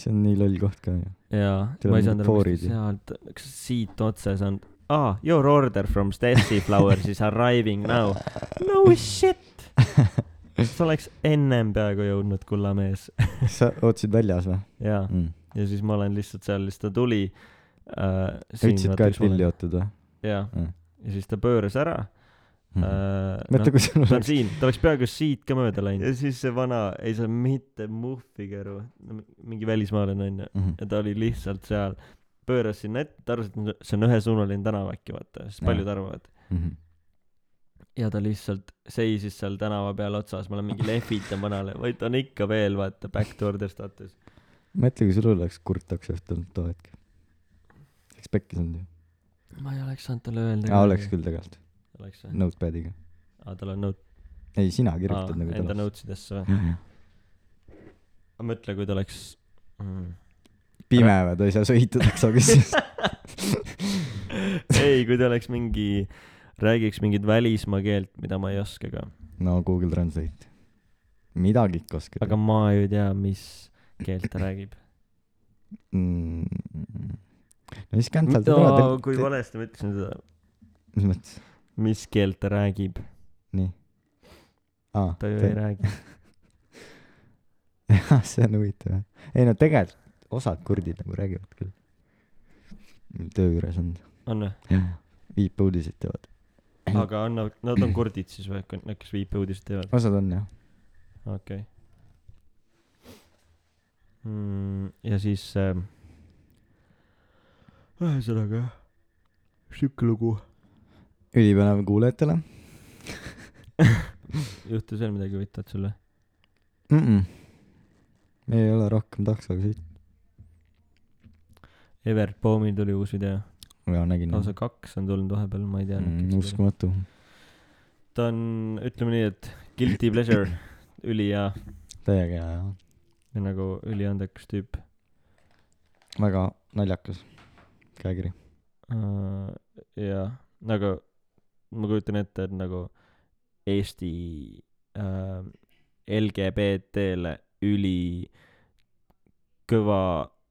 Speaker 1: see on nii loll koht ka ju .
Speaker 2: ja
Speaker 1: Teil on
Speaker 2: ma ei saanud aru ,
Speaker 1: foorid
Speaker 2: kas ta
Speaker 1: ju.
Speaker 2: sealt , kas ta siit otse saanud . aa , your order from Stessi Flowers is arriving now . No shit . sa oleks ennem peaaegu jõudnud , kulla mees .
Speaker 1: sa ootasid väljas või
Speaker 2: jaa ,
Speaker 1: mm. ?
Speaker 2: ja siis ma olen lihtsalt seal , siis ta tuli äh, .
Speaker 1: ütlesid ka , et pilli ootad või ?
Speaker 2: jaa
Speaker 1: Mm. ,
Speaker 2: ja siis ta pööras ära äh, .
Speaker 1: mõtle , kui sul
Speaker 2: ta on
Speaker 1: oleks .
Speaker 2: siin , ta oleks peaaegu siit ka mööda läinud . ja siis see vana , ei saa mitte muhvigi aru , mingi välismaalane onju ,
Speaker 1: Mhm.
Speaker 2: ja ta oli lihtsalt seal , pööras sinna ette , ta arvas , et n- see on ühesuunaline tänav äkki vaata , sest
Speaker 1: Jaa.
Speaker 2: paljud arvavad .
Speaker 1: Mhm.
Speaker 2: ja ta lihtsalt seisis seal tänava peal otsas , ma olen mingi lehvita mõnele , vaid ta on ikka veel vaata back to order status . Nagu
Speaker 1: mõtle , kui sul oleks kurt taksojuht olnud too hetk . oleks pekkis olnud ju .
Speaker 2: ma ei oleks saanud talle öelda .
Speaker 1: aa , oleks . küll tegelikult ,
Speaker 2: oleks või ?
Speaker 1: notepad'iga .
Speaker 2: aa , tal on note ,
Speaker 1: ei , sina
Speaker 2: aa
Speaker 1: kirjutad , nagu
Speaker 2: enda
Speaker 1: ta
Speaker 2: notes idesse või ?
Speaker 1: lapsed .
Speaker 2: mõtle , kui ta oleks mm. .
Speaker 1: pime või , ta ei saa sõita taksogisse .
Speaker 2: ei , kui ta oleks mingi , räägiks mingit välismaa keelt , mida ma ei oska ka .
Speaker 1: no Google Translate . midagi ikka oskad
Speaker 2: aga . ma ju ei tea , mis keelt ta räägib .
Speaker 1: Mm. no siis cancel ta ära
Speaker 2: No, , kui valesti ma ütlesin seda ,
Speaker 1: mis mõttes ,
Speaker 2: mis keelt ta räägib ,
Speaker 1: nii . aa ,
Speaker 2: ta ju ei räägi .
Speaker 1: jah , see on huvitav jah . ei no tegelikult osad kurdid nagu räägivad küll . töö juures on ,
Speaker 2: on või ?
Speaker 1: viipeuudiseid teevad .
Speaker 2: aga on nad , nad on kurdid siis või , need , kes viipeuudiseid teevad ?
Speaker 1: osad on jah ,
Speaker 2: okei okay. . ja siis äh, , ühesõnaga jah , sihuke lugu .
Speaker 1: ülipõnev kuulajatele
Speaker 2: juhtus veel midagi huvitavat sulle ?
Speaker 1: mm . -mm. me ei ole rohkem taksoga sõitnud .
Speaker 2: Evert Poomil tuli uus video ,
Speaker 1: jaa , nägin .
Speaker 2: lausa kaks on tulnud vahepeal , ma ei tea
Speaker 1: Mm, . uskumatu .
Speaker 2: ta on , ütleme nii , et guilty pleasure , ülihea
Speaker 1: täiega hea jah .
Speaker 2: ja nagu üliandekas tüüp
Speaker 1: väga naljakas käekiri .
Speaker 2: uh, . ja nagu ma kujutan ette , et nagu Eesti uh, LGBT-le üli kõva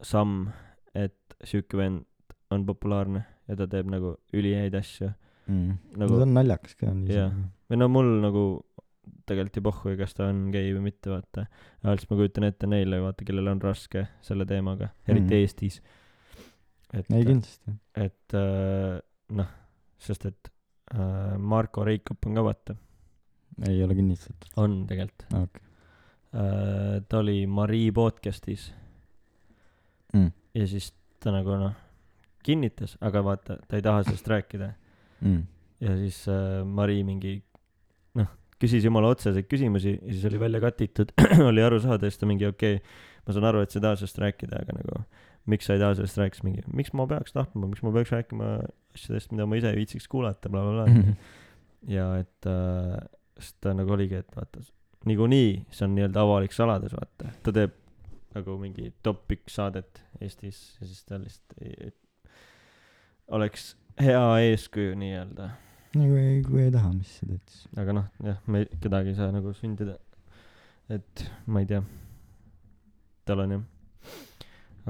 Speaker 2: samm , et sihuke vend on populaarne ja ta teeb nagu ülihäid asju
Speaker 1: mm. .
Speaker 2: Nagu-
Speaker 1: Nagu... see on naljakas ka .
Speaker 2: Jah. või no mul nagu tegelikult ei pohhu , kas ta on gei või mitte , vaata . aga siis ma kujutan ette neile , vaata , kellel on raske selle teemaga , eriti
Speaker 1: Mhm.
Speaker 2: mm. Eestis . et ,
Speaker 1: ei kindlasti .
Speaker 2: et äh, noh , sest et äh, Marko Reikop on ka , vaata ,
Speaker 1: ei ole kinnistatud .
Speaker 2: on tegelikult
Speaker 1: Okei.
Speaker 2: äh, . ta oli Marii podcast'is
Speaker 1: Mm.
Speaker 2: ja siis ta nagu noh , kinnitas , aga vaata , ta ei taha sellest rääkida .
Speaker 1: Mm.
Speaker 2: ja siis äh, Mari mingi noh , küsis jumala otseseid küsimusi ja siis oli välja katitud , oli aru saada , siis ta mingi okei okay, , ma saan aru , et sa ei taha sellest rääkida , aga nagu miks sa ei taha sellest rääkida , mingi miks ma peaks tahtma , miks ma peaks rääkima asjadest , mida ma ise ei viitsiks kuulata bla, ,
Speaker 1: Mm.
Speaker 2: blablabla . ja et äh, siis ta nagu oligi , et vaata , niikuinii see on nii-öelda avalik saladus , vaata , ta teeb nagu mingi top üks saadet Eestis ja siis ta lihtsalt ei, ei, oleks hea eeskuju nii-öelda
Speaker 1: no kui Nagu ei , kui ei taha , mis sa teed siis .
Speaker 2: aga noh , jah , me kedagi ei saa nagu sundida . et ma ei tea . tal on jah .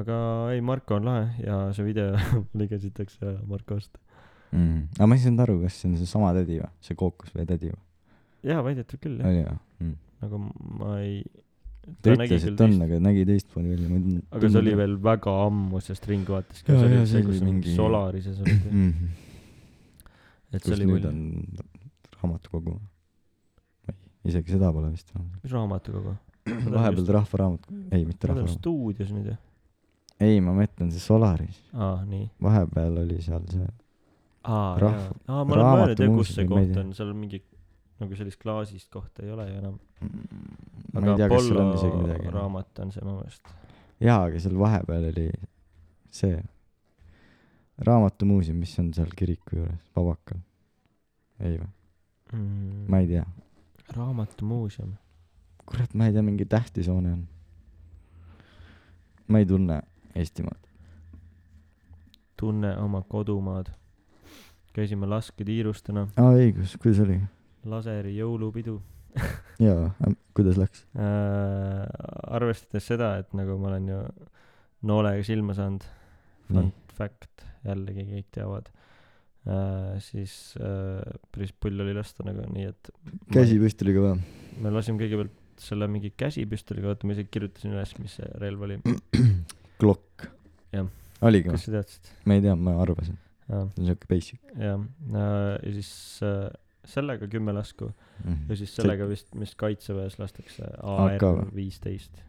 Speaker 2: aga ei , Marko on lahe ja see video liigesitakse Markost .
Speaker 1: mm. . aga ma ei saanud aru , kas see on seesama tädi või ? see kookus või tädi või ?
Speaker 2: jaa , väidetud küll jah ,
Speaker 1: oli või mm. ?
Speaker 2: aga ma ei .
Speaker 1: ta ütles , et on , aga nägi teistmoodi välja .
Speaker 2: aga see oli veel väga ammu , sest Ring vaatas ka ,
Speaker 1: Jaa,
Speaker 2: see oli
Speaker 1: jaa,
Speaker 2: see , kus on mingi Solarises olid .
Speaker 1: mm . -hmm.
Speaker 2: et see
Speaker 1: kus
Speaker 2: oli
Speaker 1: nüüd
Speaker 2: mulle
Speaker 1: on raamatukogu ? isegi seda pole vist enam .
Speaker 2: raamatukogu .
Speaker 1: vahepeal rahvaraamat , ei mitte
Speaker 2: ta on
Speaker 1: rahvaraamat .
Speaker 2: stuudios nüüd ju .
Speaker 1: ei , ma mõtlen see Solaris .
Speaker 2: aa , nii .
Speaker 1: vahepeal oli seal see
Speaker 2: aa , jaa
Speaker 1: Rahv- .
Speaker 2: aa , ma olen mõelnud jah , kus see
Speaker 1: raamatummuuseumi
Speaker 2: koht
Speaker 1: meedia.
Speaker 2: on , seal on mingi nagu sellist klaasist kohta ei ole ju enam .
Speaker 1: ma
Speaker 2: aga
Speaker 1: ei tea , kas seal on isegi
Speaker 2: Apollo
Speaker 1: midagi .
Speaker 2: raamat on see mu meelest .
Speaker 1: jaa , aga seal vahepeal oli see raamatumuuseum , mis on seal kiriku juures , Vabakal . ei või ? ma ei tea .
Speaker 2: Mm. raamatumuuseum .
Speaker 1: kurat , ma ei tea , mingi tähtis hoone on . ma ei tunne Eestimaad .
Speaker 2: tunne oma kodumaad . käisime lasketiirustena ,
Speaker 1: aa , õigus , kuidas oli ?
Speaker 2: laseri jõulupidu
Speaker 1: jaa , kuidas läks ?
Speaker 2: äh, . arvestades seda , et nagu ma olen ju noolega silma saanud ,
Speaker 1: nii ,
Speaker 2: fun fact , jällegi kõik teavad äh, , siis äh, päris pull oli lasta nagu nii , et .
Speaker 1: käsipüstoliga või ?
Speaker 2: me lasime kõigepealt selle mingi käsipüstoliga , oota ma isegi kirjutasin üles , mis see relv oli .
Speaker 1: Glock
Speaker 2: Jah. .
Speaker 1: oligi või ?
Speaker 2: kas sa teadsid ?
Speaker 1: ma ei tea , ma arvasin ,
Speaker 2: jaa ,
Speaker 1: see on siuke basic
Speaker 2: jah , ja siis äh, sellega kümme lasku ja
Speaker 1: mm. .
Speaker 2: siis sellega vist , mis kaitseväes lastakse
Speaker 1: AK
Speaker 2: AR
Speaker 1: või?
Speaker 2: viisteist ,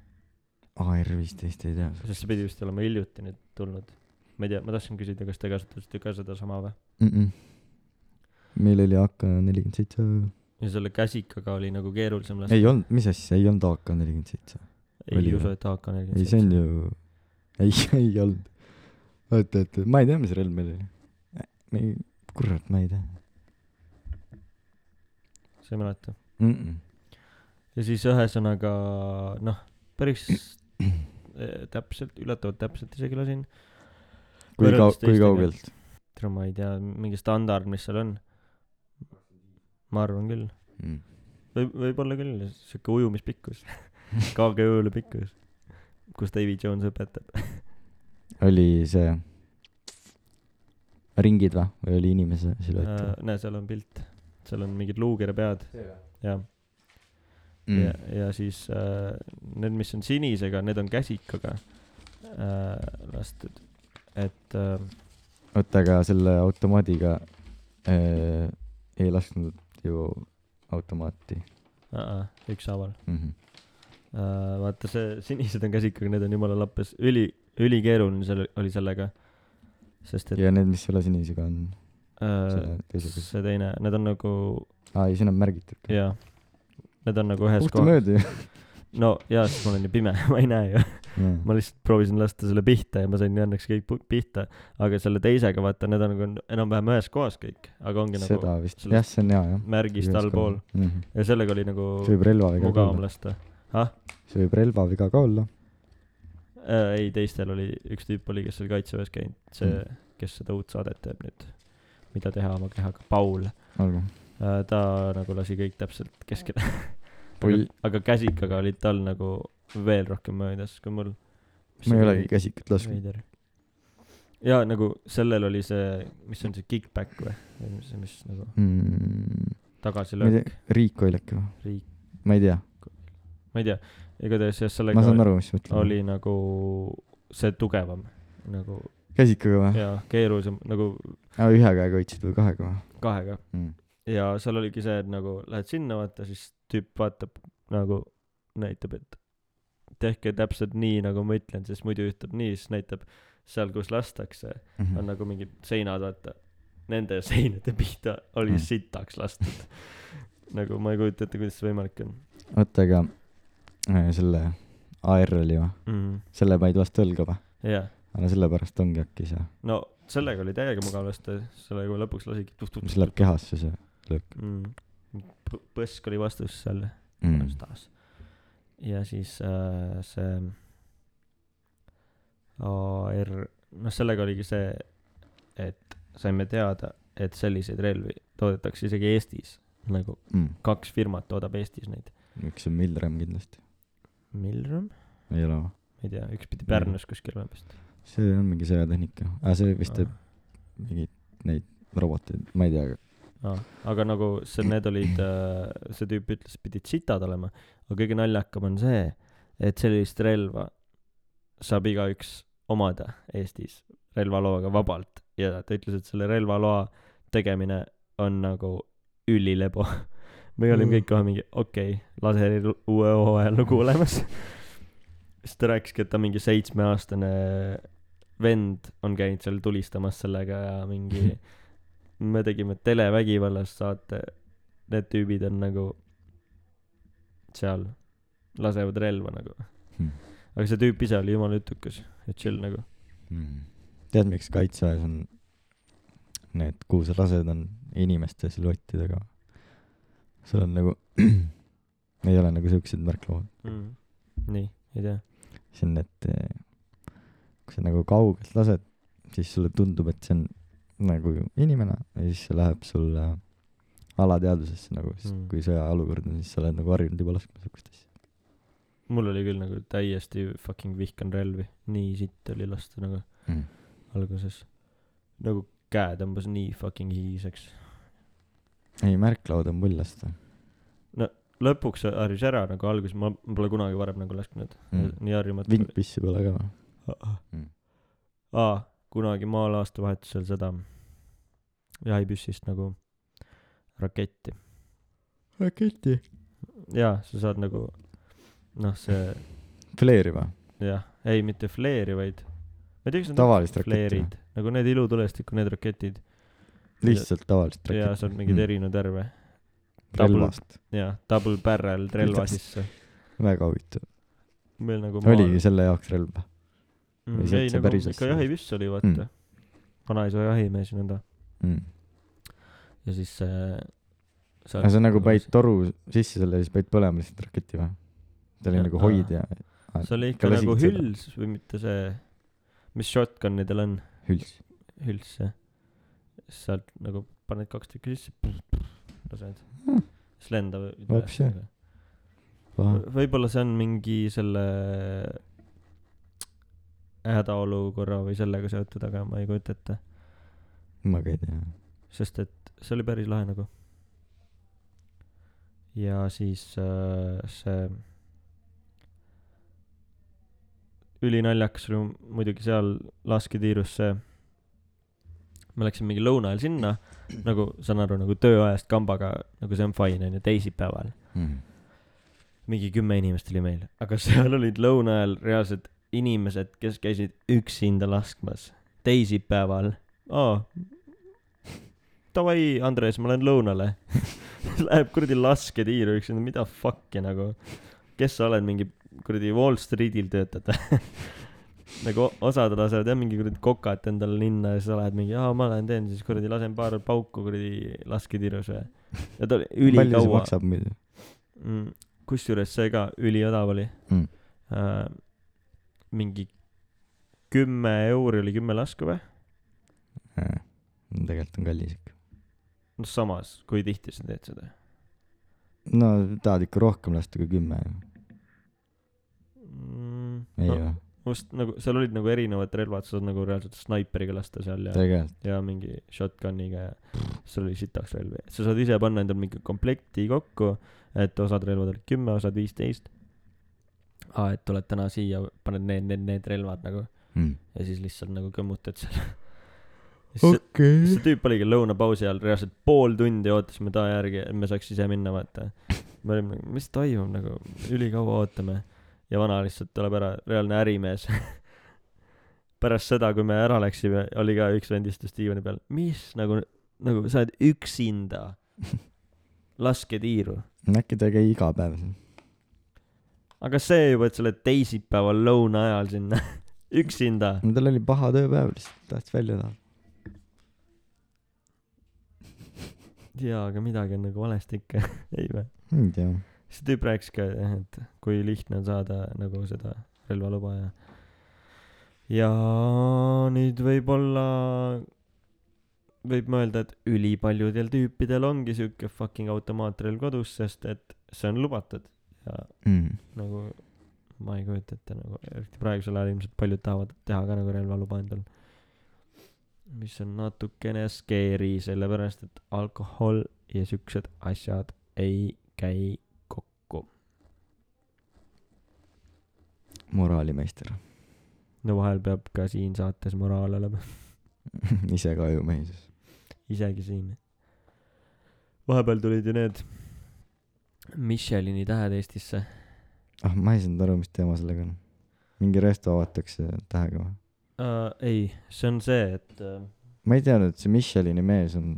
Speaker 1: AR viisteist ei tea .
Speaker 2: sest see pidi vist olema hiljuti nüüd tulnud . ma ei tea , ma tahtsin küsida , kas te kasutasite ka sedasama või ?
Speaker 1: meil oli AK nelikümmend seitse
Speaker 2: ja selle käsikaga oli nagu keerulisem lasta .
Speaker 1: ei olnud , mis asja , ei olnud AK nelikümmend seitse .
Speaker 2: ei
Speaker 1: oli
Speaker 2: usu ,
Speaker 1: või?
Speaker 2: et AK
Speaker 1: ei ,
Speaker 2: nelikümmend
Speaker 1: see on ju , ei , ei olnud . oota , oota , ma ei tea , mis relv meil oli . nii , kurat , ma ei tea
Speaker 2: sa ei mäleta .
Speaker 1: mm . -mm.
Speaker 2: ja siis ühesõnaga noh , päris eh, täpselt , üllatavalt täpselt isegi lasin .
Speaker 1: kui kau-
Speaker 2: Võrreldes ,
Speaker 1: kui
Speaker 2: teistega.
Speaker 1: kaugelt ?
Speaker 2: tead ma ei tea , mingi standard , mis seal on . ma arvan küll ,
Speaker 1: Mm.
Speaker 2: võib , võib-olla küll , sihuke ujumispikkus , kaage ujula pikkus , kus Davy Jones õpetab .
Speaker 1: oli see ringid va? või oli inimese silüett uh, ?
Speaker 2: Äh, näe , seal on pilt , seal on mingid luukere pead , jah ja
Speaker 1: Mm. ,
Speaker 2: ja siis äh, need , mis on sinisega , need on käsikaga äh, lastud , et äh,
Speaker 1: oota , aga selle automaadiga äh, ei lasknud ju automaati
Speaker 2: äh, ükshaaval
Speaker 1: mm . -hmm.
Speaker 2: äh, . vaata see sinised on käsikaga , need on jumala lappes , üli , ülikeeruline seal oli sellega , sest et
Speaker 1: ja need , mis selle sinisega on ,
Speaker 2: äh,
Speaker 1: selle teisega .
Speaker 2: see teine , need on nagu
Speaker 1: aa , ei , siin on märgitud .
Speaker 2: jaa , need on nagu ühes kohas ,
Speaker 1: puhtamööda ju .
Speaker 2: no jaa , sest mul on ju pime , ma ei näe ju . ma lihtsalt proovisin lasta selle pihta ja ma sain ju õnneks kõik pu- pihta , aga selle teisega vaata , need on nagu enam-vähem ühes kohas kõik , aga ongi nagu
Speaker 1: seda vist ,
Speaker 2: sellest
Speaker 1: jah , see on hea jah .
Speaker 2: märgist allpool
Speaker 1: mm . -hmm.
Speaker 2: ja sellega oli nagu
Speaker 1: see võib relvaviga ka
Speaker 2: mugavam
Speaker 1: olla ,
Speaker 2: lasta .
Speaker 1: see võib relvaviga ka olla .
Speaker 2: Äh, ei , teistel oli , üks tüüp oli , kes oli kaitseväes käinud , see
Speaker 1: Mm.
Speaker 2: mm. , kes seda uut saadet teeb nüüd , mida teha oma kehaga , Paul äh, ,
Speaker 1: olgu .
Speaker 2: ta nagu lasi kõik täpselt keskele ,
Speaker 1: mul ,
Speaker 2: aga käsikaga oli tal nagu veel rohkem möödas kui mul .
Speaker 1: ma ei olegi käsikut lasknud .
Speaker 2: veider . ja nagu sellel oli see , mis on see kick-back või , või mis see , mis nagu
Speaker 1: Mm. ma ei
Speaker 2: tagasilöök ,
Speaker 1: tea , Riikoil äkki või ?
Speaker 2: riik ,
Speaker 1: ma ei tea ,
Speaker 2: ma ei tea , igatahes jah ,
Speaker 1: ma
Speaker 2: sellega
Speaker 1: saan aru , mis sa mõtled .
Speaker 2: oli nagu see tugevam nagu
Speaker 1: käsikaga või ?
Speaker 2: ja keerulisem nagu
Speaker 1: aa , ühe käega hoidsid või kahega või
Speaker 2: kahega
Speaker 1: mm. ?
Speaker 2: ja seal oligi see , et nagu lähed sinna vaata , siis tüüp vaatab nagu näitab , et tehke täpselt nii , nagu ma ütlen , sest muidu ütleb nii , siis näitab seal , kus lastakse ,
Speaker 1: Hmm. Mhm.
Speaker 2: on nagu mingid seinad , vaata . Nende seinade pihta oli
Speaker 1: Mm.
Speaker 2: sitaks lastud . nagu ma ei kujuta ette , kuidas see võimalik on
Speaker 1: oota , aga äh, selle ARL-i või ?
Speaker 2: mm. .
Speaker 1: selle panid vastu õlga või ?
Speaker 2: jah ,
Speaker 1: aga sellepärast ongi äkki see ,
Speaker 2: no sellega oli täiega mugav lasta , sellega lõpuks lasigi tuh-tuh-tuh .
Speaker 1: mis läheb kehasse see
Speaker 2: mm. . põsk oli vastus seal
Speaker 1: mm.
Speaker 2: mm. . taas . ja siis äh, see AR , noh , sellega oligi see , et saime teada , et selliseid relvi toodetakse isegi Eestis . nagu
Speaker 1: Mm.
Speaker 2: kaks firmat toodab Eestis neid .
Speaker 1: üks on Milrem kindlasti ,
Speaker 2: Milrom ,
Speaker 1: ei ole või ?
Speaker 2: ma ei tea , üks pidi Pärnus kuskil olema vist .
Speaker 1: see on mingi sõjatehnika , aga see Mm. vist teeb mingeid neid roboteid , ma ei tea , aga
Speaker 2: aa , aga nagu see , need olid , see tüüp ütles , pidid sitad olema , aga kõige naljakam on see , et sellist relva saab igaüks omada Eestis relvaloaga vabalt ja ta ütles , et selle relvaloa tegemine on nagu ülilebo . me olime kõik kohe mingi , okei okay, , laseri lu- uue hooaja lugu olemas . siis ta rääkiski , et ta mingi seitsmeaastane vend on käinud seal tulistamas sellega ja mingi me tegime televägivallas saate , need tüübid on nagu seal , lasevad relva nagu
Speaker 1: Hmm.
Speaker 2: hmm. . aga see tüüp ise oli jumala jutukas ja chill nagu .
Speaker 1: mm. tead , miks kaitseväes on need kuuselased on inimeste silhuettidega ? sul on nagu , ei ole nagu siuksed märklaud ,
Speaker 2: Mm. nii , ei tea .
Speaker 1: see on need , kui sa nagu kaugelt lased , siis sulle tundub , et see on nagu inimene ja siis see läheb sulle alateadvusesse nagu , sest
Speaker 2: Mm.
Speaker 1: kui sõjaolukord on , siis sa oled nagu harjunud juba laskma siukest asja .
Speaker 2: mul oli küll nagu täiesti fucking vihkan relvi , nii sitt oli lasta nagu
Speaker 1: Mm.
Speaker 2: alguses . nagu käe tõmbas nii fucking hiiseks .
Speaker 1: ei , märklaud on pull lasta
Speaker 2: lõpuks see harjus ära nagu alguses , ma ma pole kunagi varem nagu lasknud
Speaker 1: mm.
Speaker 2: mm. , nii harjumatu .
Speaker 1: vintpissi pole ka või ? Mm.
Speaker 2: aa , kunagi maal aastavahetusel seda jahipüssist nagu raketti .
Speaker 1: raketi .
Speaker 2: jaa , sa saad nagu noh , see
Speaker 1: Fleeri või ?
Speaker 2: jah , ei mitte fleeri , vaid ma ei tea , kas need
Speaker 1: tavalist
Speaker 2: on
Speaker 1: raketti või ?
Speaker 2: fleerid , nagu need ilutulestiku need raketid
Speaker 1: lihtsalt tavalist
Speaker 2: ja
Speaker 1: raketti .
Speaker 2: seal on mingeid mm. erinevaid värve double-
Speaker 1: relvast .
Speaker 2: ja double barrel relva
Speaker 1: Kuidas?
Speaker 2: sisse .
Speaker 1: väga huvitav .
Speaker 2: meil nagu
Speaker 1: oligi selle jaoks relv .
Speaker 2: mm,
Speaker 1: sealt
Speaker 2: ei
Speaker 1: see
Speaker 2: nagu
Speaker 1: päris
Speaker 2: ikka
Speaker 1: asja.
Speaker 2: jahipüss oli vaata mm.
Speaker 1: Mm. ,
Speaker 2: vanaisa jahimees ja nõnda .
Speaker 1: mm. .
Speaker 2: ja siis äh, see .
Speaker 1: aga see on nagu panid . toru sisse selle ja siis panid põlema lihtsalt raketi või ? ta oli
Speaker 2: Ja-
Speaker 1: nagu hoidja ,
Speaker 2: see oli ikka
Speaker 1: Ikka
Speaker 2: nagu
Speaker 1: lasid seda?
Speaker 2: hüls või mitte see , mis shotgun'idel on ,
Speaker 1: hüls .
Speaker 2: hüls jah . sealt nagu paned kaks tükki sisse , lased , siis lendab .
Speaker 1: Vaps, Hmm. jah.
Speaker 2: Võ- võib-olla see on mingi selle hädaolukorra või sellega seotud , aga ma ei kujuta ette ,
Speaker 1: ma ka ei tea .
Speaker 2: sest et see oli päris lahe nagu . ja siis äh, see ülinaljakas oli muidugi seal lasketiirus see , ma läksin mingi lõuna ajal sinna , nagu saan aru , nagu tööajast kambaga , nagu see on fine on ju , teisipäeval .
Speaker 1: Mm.
Speaker 2: mingi kümme inimest oli meil , aga seal olid lõuna ajal reaalselt inimesed , kes käisid üksinda laskmas teisipäeval . aa , davai , Andres , ma lähen lõunale . Läheb kuradi lasketiiru üksinda , mida fuck'i nagu , kes sa oled , mingi kuradi Wall Streetil töötad või ? nagu o- osad lasevad jah mingi kuradi kokat endale ninna ja siis sa lähed mingi , aa ma lähen teen siis kuradi lasen paar pauku kuradi lasketiirus või . ja ta oli
Speaker 1: palju see
Speaker 2: ülikaua
Speaker 1: maksab muidu ?
Speaker 2: mm, . kusjuures see ka üliodav oli
Speaker 1: Mm.
Speaker 2: äh, . mingi kümme euri oli kümme lasku või ?
Speaker 1: tegelikult on kallis ikka .
Speaker 2: no samas , kui tihti sa teed seda ?
Speaker 1: no tahad ikka rohkem lasta kui kümme ju ,
Speaker 2: Mm,
Speaker 1: ei
Speaker 2: no,
Speaker 1: või ?
Speaker 2: just nagu seal olid nagu erinevad relvad , sa saad nagu reaalselt snaipriga lasta seal ja ,
Speaker 1: tegelikult ,
Speaker 2: ja mingi shotgun'iga ja seal oli sitaks relvi , sa saad ise panna endal mingi komplekti kokku , et osad relvad olid kümme , osad viisteist . aa , et tuled täna siia , paned need , need , need relvad nagu
Speaker 1: Mm.
Speaker 2: ja siis lihtsalt nagu kõmmutad seal . see ,
Speaker 1: okei
Speaker 2: see . tüüp oligi lõunapausi ajal reaalselt pool tundi ootasime ta järgi , et me saaks ise minna , vaata . me olime nagu , mis toimub nagu , ülikaua ootame . ja vana lihtsalt tuleb ära , reaalne ärimees . pärast seda , kui me ära läksime , oli ka üks vend istus diivani peal , mis nagu , nagu sa oled üksinda , laske tiiru .
Speaker 1: äkki ta ei käi iga päev seal ?
Speaker 2: aga see juba , et sa oled teisipäeval lõuna ajal sinna üksinda ,
Speaker 1: no tal oli paha tööpäev lihtsalt , tahtis välja elada .
Speaker 2: jaa , aga midagi on nagu valesti ikka , ei vä ?
Speaker 1: ei tea .
Speaker 2: see tüüp rääkis ka jah , et kui lihtne on saada nagu seda relvaluba ja ja nüüd võib-olla võib mõelda , et ülipaljudel tüüpidel ongi siuke fucking automaatrelv kodus , sest et see on lubatud ja
Speaker 1: Mm.
Speaker 2: nagu ma ei kujuta ette nagu eriti praegusel ajal ilmselt paljud tahavad teha ka nagu relvaluba endal mis on natukene scary sellepärast et alkohol ja siuksed asjad ei käi kokku
Speaker 1: moraalimeister ,
Speaker 2: no vahel peab ka siin saates moraal olema
Speaker 1: ise ka ju mees .
Speaker 2: isegi siin vahepeal tulid ju need Michelini tähed Eestisse
Speaker 1: ah , ma ei saanud aru , mis teema sellega on . mingi resto avatakse tähega või ?
Speaker 2: uh, ei see on see et uh,
Speaker 1: ma ei teadnud , see Michelini mees on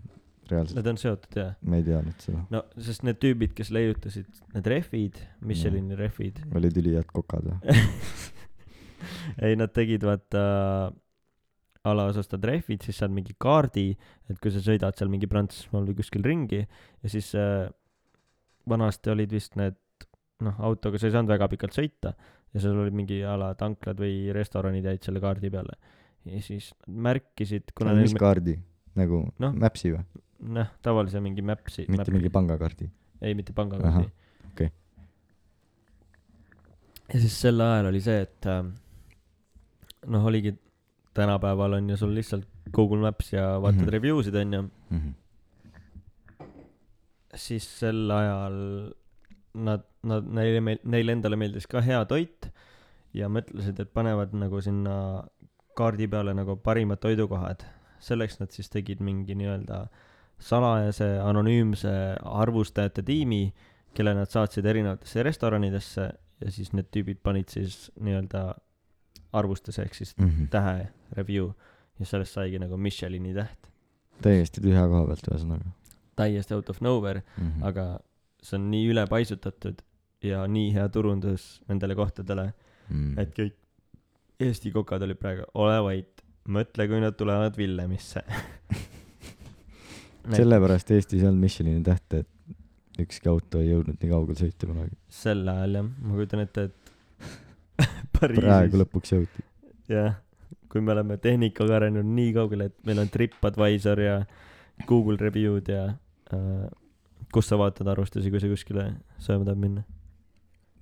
Speaker 1: reaalselt ,
Speaker 2: need on seotud jaa
Speaker 1: ma ei teadnud seda .
Speaker 2: no sest need tüübid , kes leiutasid need rehvid , Michelini rehvid ,
Speaker 1: olid ülihead kokad või ?
Speaker 2: ei nad tegid vaata alaos ostad rehvid , siis saad mingi kaardi , et kui sa sõidad seal mingi Prantsusmaal või kuskil ringi ja siis äh, vanasti olid vist need noh , autoga sa ei saanud väga pikalt sõita ja seal olid mingi ala tanklad või restoranid jäid selle kaardi peale ja siis märkisid , kuna
Speaker 1: mis
Speaker 2: neil
Speaker 1: kaardi ? nagu
Speaker 2: Noh,
Speaker 1: noh, Maps'i või ?
Speaker 2: noh , tavalise mingi mäpsi
Speaker 1: mitte mingi pangakaardi .
Speaker 2: ei , mitte
Speaker 1: Ahah,
Speaker 2: pangakaardi .
Speaker 1: okei. .
Speaker 2: ja siis sel ajal oli see , et ähm, noh , oligi , tänapäeval on ju sul lihtsalt Google Maps ja vaatad mm
Speaker 1: Mhm.
Speaker 2: -hmm. review sid on ju , siis sel ajal nad , nad , neile meil- , neile endale meeldis ka hea toit ja mõtlesid , et panevad nagu sinna kaardi peale nagu parimad toidukohad . selleks nad siis tegid mingi nii-öelda salajase anonüümse arvustajate tiimi , kelle nad saatsid erinevatesse restoranidesse ja siis need tüübid panid siis nii-öelda arvustuse ehk siis
Speaker 1: Mhm.
Speaker 2: tähe review ja sellest saigi nagu Michelini täht .
Speaker 1: täiesti tühja koha pealt , ühesõnaga . Mhm.
Speaker 2: täiesti out of nowhere ,
Speaker 1: Mm.
Speaker 2: aga see on nii ülepaisutatud ja nii hea turundus nendele kohtadele ,
Speaker 1: Mm. Mhm.
Speaker 2: et . kõik Eesti kokad olid praegu , ole vait , mõtle , kui nad tulevad Villemisse .
Speaker 1: sellepärast Eestis ei olnud Michelini tähte , et ükski auto ei jõudnud nii kaugele sõita kunagi .
Speaker 2: sel ajal jah , ma kujutan ette , et
Speaker 1: praegu
Speaker 2: Pariisis ,
Speaker 1: lõpuks jõuti .
Speaker 2: jah , kui me oleme tehnikaga arenenud nii kaugele , et meil on Tripadvisor ja Google review'd ja äh, kus sa vaatad arvustusi , kui sa kuskile sööma tahad minna ?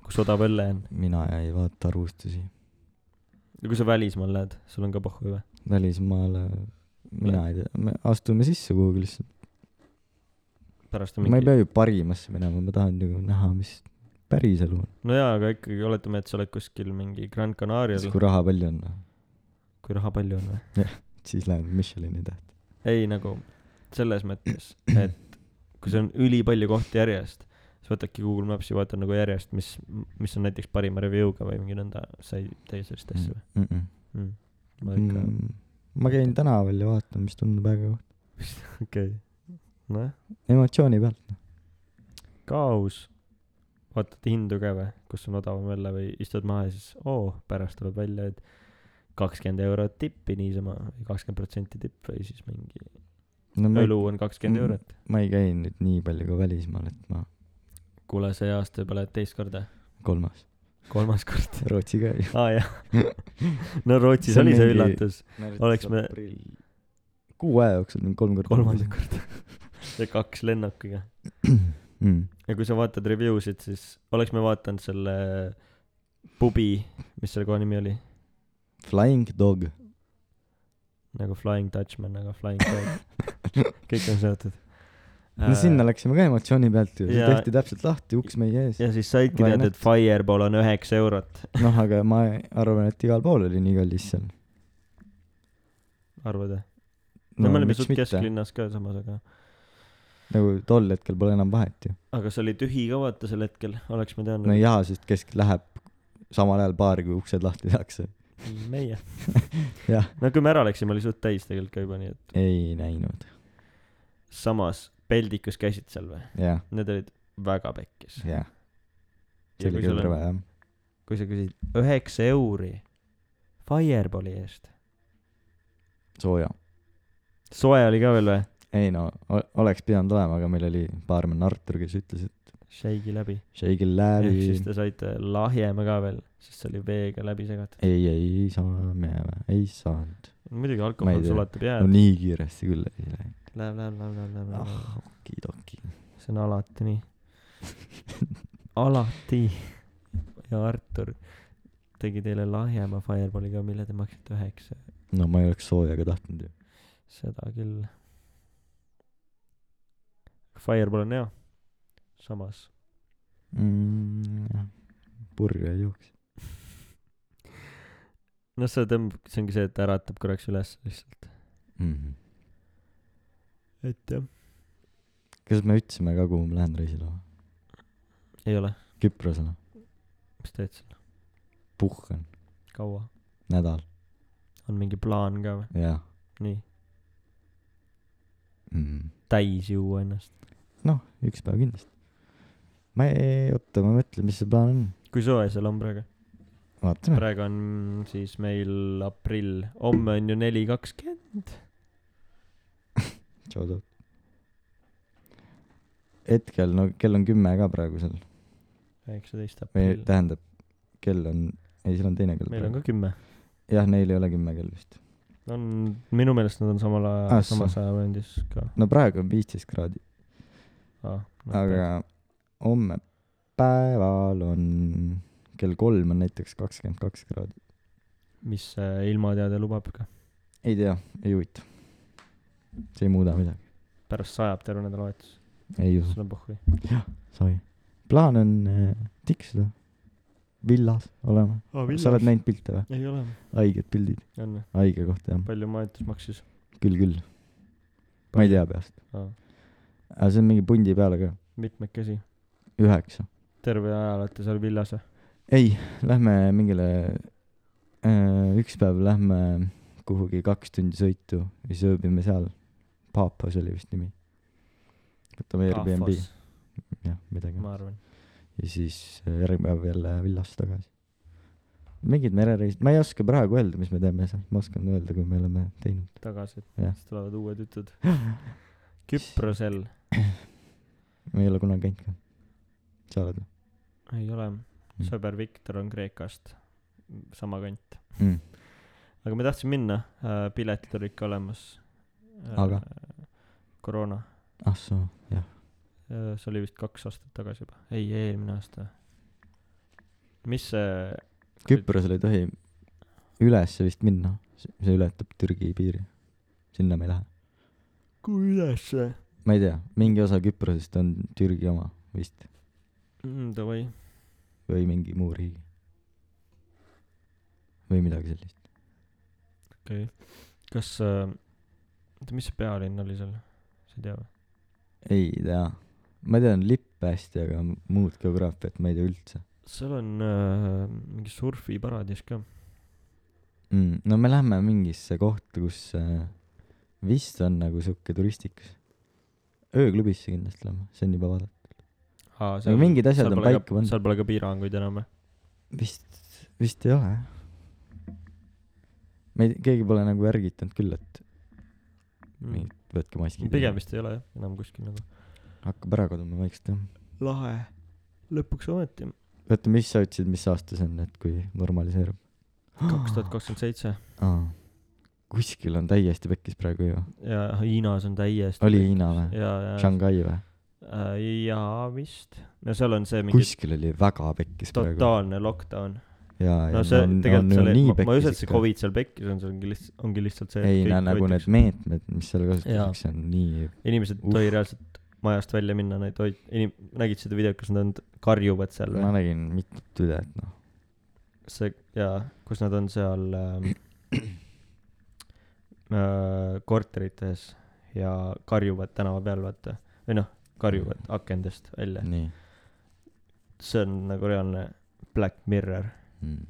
Speaker 2: kus odav õlle on ?
Speaker 1: mina ei vaata arvustusi .
Speaker 2: ja kui sa välismaal lähed , sul on ka pohhu või ?
Speaker 1: välismaale , mina ei tea , me astume sisse kuhugi lihtsalt .
Speaker 2: pärast on
Speaker 1: ma ei
Speaker 2: mingi ,
Speaker 1: pea ju parimasse minema , ma tahan ju näha , mis päris elu on .
Speaker 2: no jaa , aga ikkagi oletame , et sa oled kuskil mingi Grand Canarial
Speaker 1: siis , kui raha palju on ,
Speaker 2: kui raha palju on või ?
Speaker 1: siis lähen Michelini tähte .
Speaker 2: ei nagu selles mõttes , et kui sul on ülipalju kohti järjest , siis võtadki Google Maps ja vaatad nagu järjest , mis , mis on näiteks parima review'ga või mingi nõnda , sa ei tee sellist asja või
Speaker 1: mm . -mm.
Speaker 2: mm. ? ma ikka ,
Speaker 1: Mm, ma käin tänaval ja vaatan , mis tundub äge koht .
Speaker 2: okei , Noh. nojah ,
Speaker 1: emotsiooni pealt .
Speaker 2: ka aus . vaatad hindu ka või , kus on odavam jälle või istud maha ja siis oo , pärast tuleb välja , et kakskümmend eurot tippi niisama või kakskümmend protsenti tipp või siis mingi
Speaker 1: no ma ei ,
Speaker 2: õlu on kakskümmend
Speaker 1: Mm.
Speaker 2: eurot .
Speaker 1: ma ei käi nüüd nii palju ka välismaal , et ma
Speaker 2: kuule , see aasta juba lähed teist korda ,
Speaker 1: kolmas .
Speaker 2: kolmas kord .
Speaker 1: Rootsi ka ju .
Speaker 2: aa jah . no Rootsis
Speaker 1: See on
Speaker 2: oli see
Speaker 1: mingi-
Speaker 2: üllatus , Oleks me-
Speaker 1: kuu aja jooksul mingi kolm korda .
Speaker 2: kolmandat korda . ja kaks lennukiga .
Speaker 1: mm. .
Speaker 2: ja kui sa vaatad review sid , siis oleks me vaadanud selle pubi , mis selle koha nimi oli ,
Speaker 1: Flying dog .
Speaker 2: nagu Flying Dutchman , aga Flying Dog . kõik on seotud . Äh,
Speaker 1: no sinna . läksime ka emotsiooni pealt ju , see
Speaker 2: ja-
Speaker 1: tehti täpselt lahti , uks meie ees .
Speaker 2: ja siis saidki
Speaker 1: Ma ei
Speaker 2: teada , et Fireball on üheksa eurot ,
Speaker 1: noh , aga ma arvan , et igal pool oli nii kallis seal .
Speaker 2: arvad või ? no me olime suht . kesklinnas ka samas , aga ,
Speaker 1: nagu tol hetkel pole enam vahet ju .
Speaker 2: aga see oli tühi ka vaata sel hetkel , oleks me teadnud
Speaker 1: no . jah , sest kesk läheb samal ajal baari , kui uksed lahti tehakse .
Speaker 2: meie
Speaker 1: Jah. .
Speaker 2: no kui me ära läksime , oli suht täis tegelikult ka juba , nii et
Speaker 1: ei näinud ,
Speaker 2: samas peldikus käisid seal või ?
Speaker 1: jah ,
Speaker 2: Need olid väga pekkis .
Speaker 1: jah .
Speaker 2: ja
Speaker 1: see oli
Speaker 2: kui sul
Speaker 1: küll rõve
Speaker 2: on ,
Speaker 1: jah .
Speaker 2: kui sa küsid üheksa euri Fireballi eest .
Speaker 1: sooja .
Speaker 2: soe oli ka veel või ?
Speaker 1: ei no , oleks pidanud olema , aga meil oli baarmen Artur , kes ütles , et
Speaker 2: Shake'i läbi .
Speaker 1: shake it
Speaker 2: ehk
Speaker 1: läbi
Speaker 2: siis . te saite lahjema ka veel , sest see oli veega läbi segatud .
Speaker 1: ei , ei saame , ei saanud .
Speaker 2: muidugi
Speaker 1: Ma ei
Speaker 2: alkohol
Speaker 1: tea.
Speaker 2: sulatab jääd
Speaker 1: no . nii kiiresti küll ei läinud .
Speaker 2: Läheb , läheb , läheb , läheb , läheb , läheb .
Speaker 1: ah , okidoki .
Speaker 2: see on alati nii . alati . ja Artur tegi teile lahjema Fireballi ka , mille te maksite üheksa .
Speaker 1: no ma ei oleks sooja ka tahtnud ju .
Speaker 2: seda küll . Fireball on hea , samas
Speaker 1: mm, . purju ei jooks .
Speaker 2: noh , see tõmbab , see ongi see , et äratab korraks üles lihtsalt .
Speaker 1: Mm -hmm.
Speaker 2: et jah .
Speaker 1: kas me ütlesime ka , kuhu ma lähen reisile või ?
Speaker 2: ei ole ,
Speaker 1: Küprosele ,
Speaker 2: mis teed seal ,
Speaker 1: puhkan ,
Speaker 2: kaua ,
Speaker 1: nädal ,
Speaker 2: on mingi plaan ka või ,
Speaker 1: jah
Speaker 2: nii ,
Speaker 1: mm. .
Speaker 2: täis juua ennast .
Speaker 1: noh , üks päev kindlasti . ma ei , oota , ma mõtlen , mis see plaan on .
Speaker 2: kui soe seal on praegu ?
Speaker 1: vaatame .
Speaker 2: praegu on siis meil aprill , homme on ju neli kakskümmend ,
Speaker 1: hetkel , no kell on kümme ka praegu seal ,
Speaker 2: üheksateist
Speaker 1: või
Speaker 2: aprill ,
Speaker 1: tähendab , kell on , ei , seal on teine kell
Speaker 2: meil on
Speaker 1: praegu .
Speaker 2: ka kümme .
Speaker 1: jah , neil ei ole kümme kell vist .
Speaker 2: on , minu meelest nad on samal
Speaker 1: Ah,
Speaker 2: ajal ,
Speaker 1: soo.
Speaker 2: samas ajavööndis ka
Speaker 1: no praegu on viisteist kraadi ,
Speaker 2: ah, .
Speaker 1: aga homme päeval on , kell kolm on näiteks kakskümmend kaks kraadi .
Speaker 2: mis see ilmateade lubab ka ,
Speaker 1: ei tea , ei huvita . see ei muuda midagi .
Speaker 2: pärast sajab terve nädalavahetus ,
Speaker 1: ei usu .
Speaker 2: sul on pohhui .
Speaker 1: sai . plaan on äh, tiksuda villas olema
Speaker 2: Oh,
Speaker 1: sa oled ? näinud pilte või ?
Speaker 2: ei ole ,
Speaker 1: haiged pildid ,
Speaker 2: on või ,
Speaker 1: haige koht jah ,
Speaker 2: palju majutus maksis ?
Speaker 1: küll , küll . ma ei tea peast ,
Speaker 2: Aa,
Speaker 1: aga see on mingi pundi peale ka ,
Speaker 2: mitmekesi ,
Speaker 1: üheksa .
Speaker 2: terve aja olete seal villas või ?
Speaker 1: ei , lähme mingile äh, , üks päev lähme kuhugi kaks tundi sõitu ja siis ööbime seal . Paapos oli vist nimi . võtame Airbnb , jah , midagi .
Speaker 2: ma arvan .
Speaker 1: ja siis äh, järgmine päev jälle villas tagasi . mingid merereisid , ma ei oska praegu öelda , mis me teeme seal , ma oskan öelda , kui me oleme teinud .
Speaker 2: tagasi ,
Speaker 1: Jah.
Speaker 2: siis tulevad uued jutud . Küprosel ,
Speaker 1: ma ei ole kunagi käinud ka . sa oled või
Speaker 2: ei ole , sõber Viktor on Kreekast , sama kant .
Speaker 1: mm. ?
Speaker 2: aga me tahtsime minna , piletid olid ka olemas .
Speaker 1: Aga? ?
Speaker 2: koroona ,
Speaker 1: ah soo , jah .
Speaker 2: see oli vist kaks aastat tagasi juba , ei eelmine aasta . mis see ,
Speaker 1: Küprosel ei tohi ülesse vist minna , see ületab Türgi piiri . sinna me ei lähe .
Speaker 2: kui ülesse
Speaker 1: ma ei tea , mingi osa Küprosest on Türgi oma vist
Speaker 2: mm, ? Davai ,
Speaker 1: või mingi muu riigi . või midagi sellist .
Speaker 2: okei okay. . kas , oota , mis see pealinn oli seal , sa ei tea või ?
Speaker 1: ei tea . ma tean lippe hästi , aga muud geograafiat ma ei tea üldse
Speaker 2: seal on äh, mingi surfiparadiis ka .
Speaker 1: mm, . no me lähme mingisse kohta , kus äh, vist on nagu sihuke turistikas . ööklubisse kindlasti lähme , see on juba vaadatud .
Speaker 2: aa ,
Speaker 1: Aga mingid asjad on paika pandud.
Speaker 2: seal pole ka piiranguid enam või ?
Speaker 1: vist , vist ei ole jah . me ei , keegi pole nagu ärgitanud küll , et Nii. võtke maskid .
Speaker 2: Mm, pigem . vist ei ole jah , enam kuskil nagu .
Speaker 1: hakkab ära kaduma vaikselt jah .
Speaker 2: lahe , lõpuks ometi .
Speaker 1: oota , mis sa ütlesid , mis aasta see on , et kui normaliseerub ?
Speaker 2: kaks tuhat kakskümmend seitse
Speaker 1: aa , kuskil on täiesti pekkis praegu ju .
Speaker 2: ja Hiinas on täiesti .
Speaker 1: oli Hiina või ?
Speaker 2: ja , ja ,
Speaker 1: Shanghai või ?
Speaker 2: ja vist . no seal on see mingi
Speaker 1: kuskil oli väga pekkis praegu .
Speaker 2: totaalne lockdown .
Speaker 1: jaa ,
Speaker 2: no
Speaker 1: jaa ,
Speaker 2: see tegelikult seal ei , ma ei usu , et see
Speaker 1: ikka.
Speaker 2: Covid seal pekkis on , see ongi lihtsalt , ongi lihtsalt see .
Speaker 1: ei , no nagu need . meetmed , mis seal kasutatakse , on nii ,
Speaker 2: inimesed ei
Speaker 1: Uff.
Speaker 2: tohi reaalselt majast välja minna , neid hoid- , inim- , nägid seda videot , kus nad karjuvad seal
Speaker 1: ma
Speaker 2: või ?
Speaker 1: nägin mitut üle , et noh ,
Speaker 2: see jaa , kus nad on seal ähm, äh, korterites ja karjuvad tänava peal , vaata . või noh ,
Speaker 1: Mm.
Speaker 2: karjuvad akendest välja .
Speaker 1: nii
Speaker 2: see on nagu reaalne Black Mirror .
Speaker 1: mm. .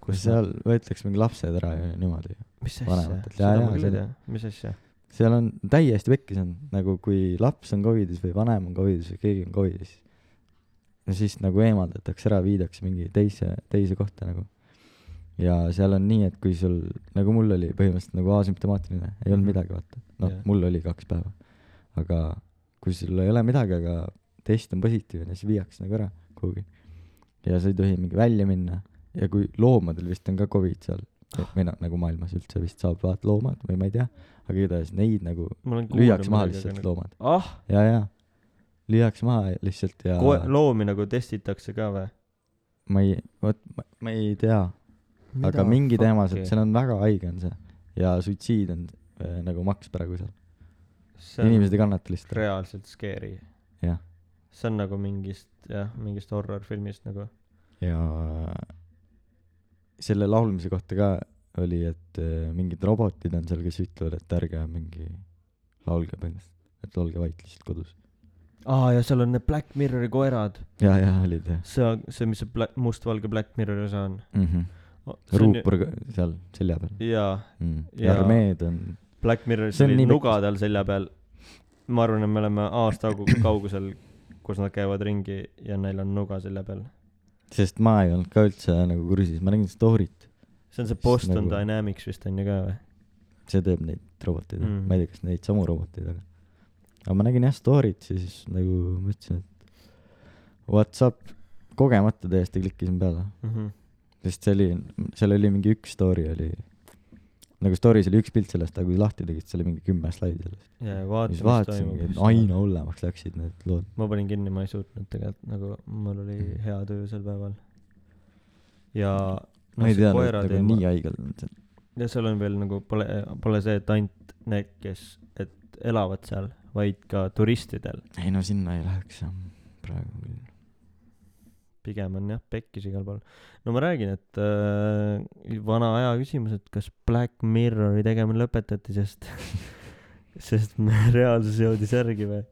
Speaker 1: kus seal võetakse mingi lapsed ära ja niimoodi .
Speaker 2: mis asja
Speaker 1: Vanematelt. ? Jaa,
Speaker 2: seda
Speaker 1: jaa,
Speaker 2: ma küll ei
Speaker 1: seda-
Speaker 2: tea , mis asja ?
Speaker 1: seal on täiesti pekkis on , nagu kui laps on Covidis või vanem on Covidis või keegi on Covidis , no siis nagu eemaldatakse ära , viidakse mingi teise , teise kohta nagu . ja seal on nii , et kui sul , nagu mul oli põhimõtteliselt nagu asümptomaatiline , ei olnud
Speaker 2: Mhm.
Speaker 1: midagi , vaata . noh
Speaker 2: Jah.
Speaker 1: yeah. , mul oli kaks päeva . aga kui sul ei ole midagi , aga test on positiivne , siis viiakse nagu ära kuhugi . ja sa ei tohi mingi välja minna ja kui loomadel vist on ka Covid seal , või noh , nagu maailmas üldse vist saab vaata loomad või ma ei tea , aga igatahes neid nagu
Speaker 2: ma olen
Speaker 1: lüüakse maha lihtsalt . loomad .
Speaker 2: ah ,
Speaker 1: ja , ja lüüakse maha lihtsalt ja
Speaker 2: koe- , loomi nagu testitakse ka või ?
Speaker 1: ma ei , vot ma, ma ei tea , aga mingi teemasid , seal on väga haige on see ja suitsiid on äh, nagu maks praegu seal ,
Speaker 2: see on
Speaker 1: inimesed ei kannata lihtsalt .
Speaker 2: reaalselt scary .
Speaker 1: Jah.
Speaker 2: see on nagu mingist , jah , mingist horror filmist nagu .
Speaker 1: ja selle laulmise kohta ka oli , et äh, mingid robotid on seal , kes ütlevad , et ärge mingi laulge põhimõtteliselt , et olge vait lihtsalt kodus .
Speaker 2: aa , ja seal on need Black Mirrori koerad .
Speaker 1: ja , ja olid jah
Speaker 2: see on , see , mis see Black , mustvalge Black Mirrori osa on
Speaker 1: mm -hmm. .
Speaker 2: oh, .
Speaker 1: ruupor ka- seal selja peal
Speaker 2: jaa ,
Speaker 1: mm. .
Speaker 2: Jaa.
Speaker 1: armeed on
Speaker 2: Black Mirroris
Speaker 1: See on
Speaker 2: oli
Speaker 1: nii
Speaker 2: nuga tal selja peal . ma arvan , et me oleme aasta augu- kaugusel , kus nad käivad ringi ja neil on nuga selja peal .
Speaker 1: sest ma ei olnud ka üldse nagu kursis , ma nägin story't ,
Speaker 2: see on see
Speaker 1: Siis
Speaker 2: Boston
Speaker 1: nagu-
Speaker 2: nagu... Dynamics vist on ju ka või ?
Speaker 1: see teeb neid roboteid mm.
Speaker 2: Mm. ,
Speaker 1: ma ei tea , kas neid samu roboteid , aga aga ma nägin jah story't , siis nagu mõtlesin , et what's up , kogemata täiesti klikkisin peale ,
Speaker 2: mm . -hmm.
Speaker 1: sest see oli , seal oli mingi üks story oli , nagu story's oli üks pilt sellest , aga kui lahti tegid , seal oli mingi kümme slaidi sellest .
Speaker 2: ja
Speaker 1: siis
Speaker 2: vaatame , mis
Speaker 1: vaatasingi , et
Speaker 2: toimub .
Speaker 1: aina hullemaks läksid need lood .
Speaker 2: ma panin kinni , ma ei suutnud tegelikult nagu , mul oli hea töö sel päeval . ja
Speaker 1: ma ei
Speaker 2: see
Speaker 1: teadnud ,
Speaker 2: koera
Speaker 1: et nagu
Speaker 2: teema-
Speaker 1: nii haigelt on see .
Speaker 2: ja seal on veel nagu pole , pole see , et ainult need , kes , et elavad seal , vaid ka turistidel .
Speaker 1: ei no sinna ei läheks jah , praegu küll .
Speaker 2: pigem on jah , pekkis igal pool . no ma räägin , et äh, vana aja küsimus , et kas Black Mirrori tegemine lõpetati , sest , sest me- reaalsus jõudis järgi või ?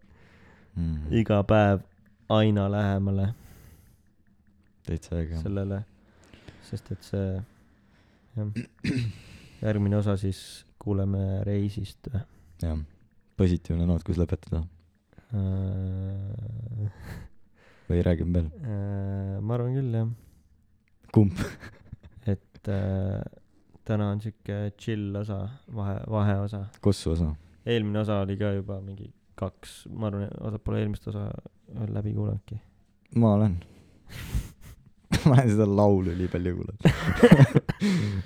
Speaker 1: Mm.
Speaker 2: iga päev aina lähemale
Speaker 1: täitsa äge .
Speaker 2: sellele , sest et see , jah , järgmine osa siis kuuleme reisist või ?
Speaker 1: jah , positiivne noot , kus lõpetada või räägime veel ,
Speaker 2: Äh, ma arvan küll jah ,
Speaker 1: kumb ?
Speaker 2: et äh, täna on siuke chill osa , vahe , vaheosa .
Speaker 1: kossu osa .
Speaker 2: eelmine osa oli ka juba mingi kaks , ma arvan , osa pole eelmist osa veel läbi kuulanudki .
Speaker 1: ma olen ma olen seda laulu nii palju kuulanud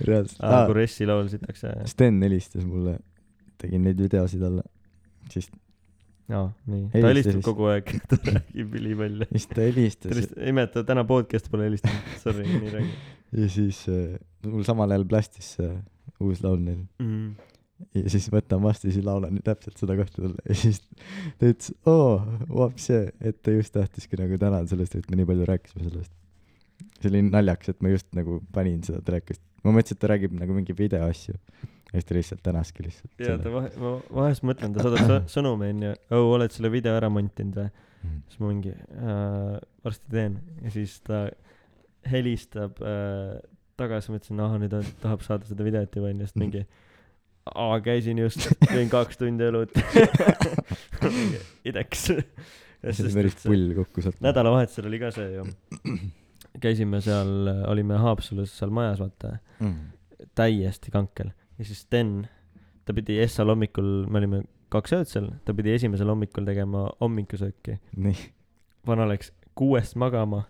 Speaker 1: reaalselt
Speaker 2: aa ,
Speaker 1: ah,
Speaker 2: kui Ressi laulsitakse .
Speaker 1: Sten helistas mulle tegin neid videosid alla siis
Speaker 2: aa , nii .
Speaker 1: Helistas
Speaker 2: ta helistab
Speaker 1: vist.
Speaker 2: kogu aeg , ta räägib ülipalju .
Speaker 1: siis ta
Speaker 2: ta
Speaker 1: helistas
Speaker 2: helist- , ei mäleta , täna podcast'i pole helistanud , sorry , nii räägi
Speaker 1: ja siis äh, mul samal ajal plästis see uus laul neil
Speaker 2: mm. .
Speaker 1: ja siis võtan vastu ja siis laulan täpselt seda kohta talle ja siis ta ütles oo vapse et ta just tahtiski nagu tänada sellest et me nii palju rääkisime sellest see oli naljakas et ma just nagu panin seda telekast ma mõtlesin et ta räägib nagu mingi video asju ja siis ta lihtsalt tänaski lihtsalt
Speaker 2: ja ta vahe , ma vahest mõtlen , ta saadab sõ- sõnumi onju , õu , oled selle video ära montinud või ?
Speaker 1: Mhm.
Speaker 2: siis ma mingi äh, , varsti teen ja siis ta helistab äh, tagasi , mõtlesin , ahah , nüüd on, tahab saada seda videot juba onju , siis ta mingi aa , käisin just , jõin kaks tundi õlut . ideks .
Speaker 1: ja siis päris pull kokku sealt
Speaker 2: nädalavahetusel oli ka see ju . käisime seal , olime Haapsalus seal majas , vaata ,
Speaker 1: mm.
Speaker 2: täiesti kankel ja siis Sten , ta pidi Essal hommikul , me olime kaks ööd seal , ta pidi esimesel hommikul tegema hommikusööki .
Speaker 1: nii
Speaker 2: vana läks kuuest magama ,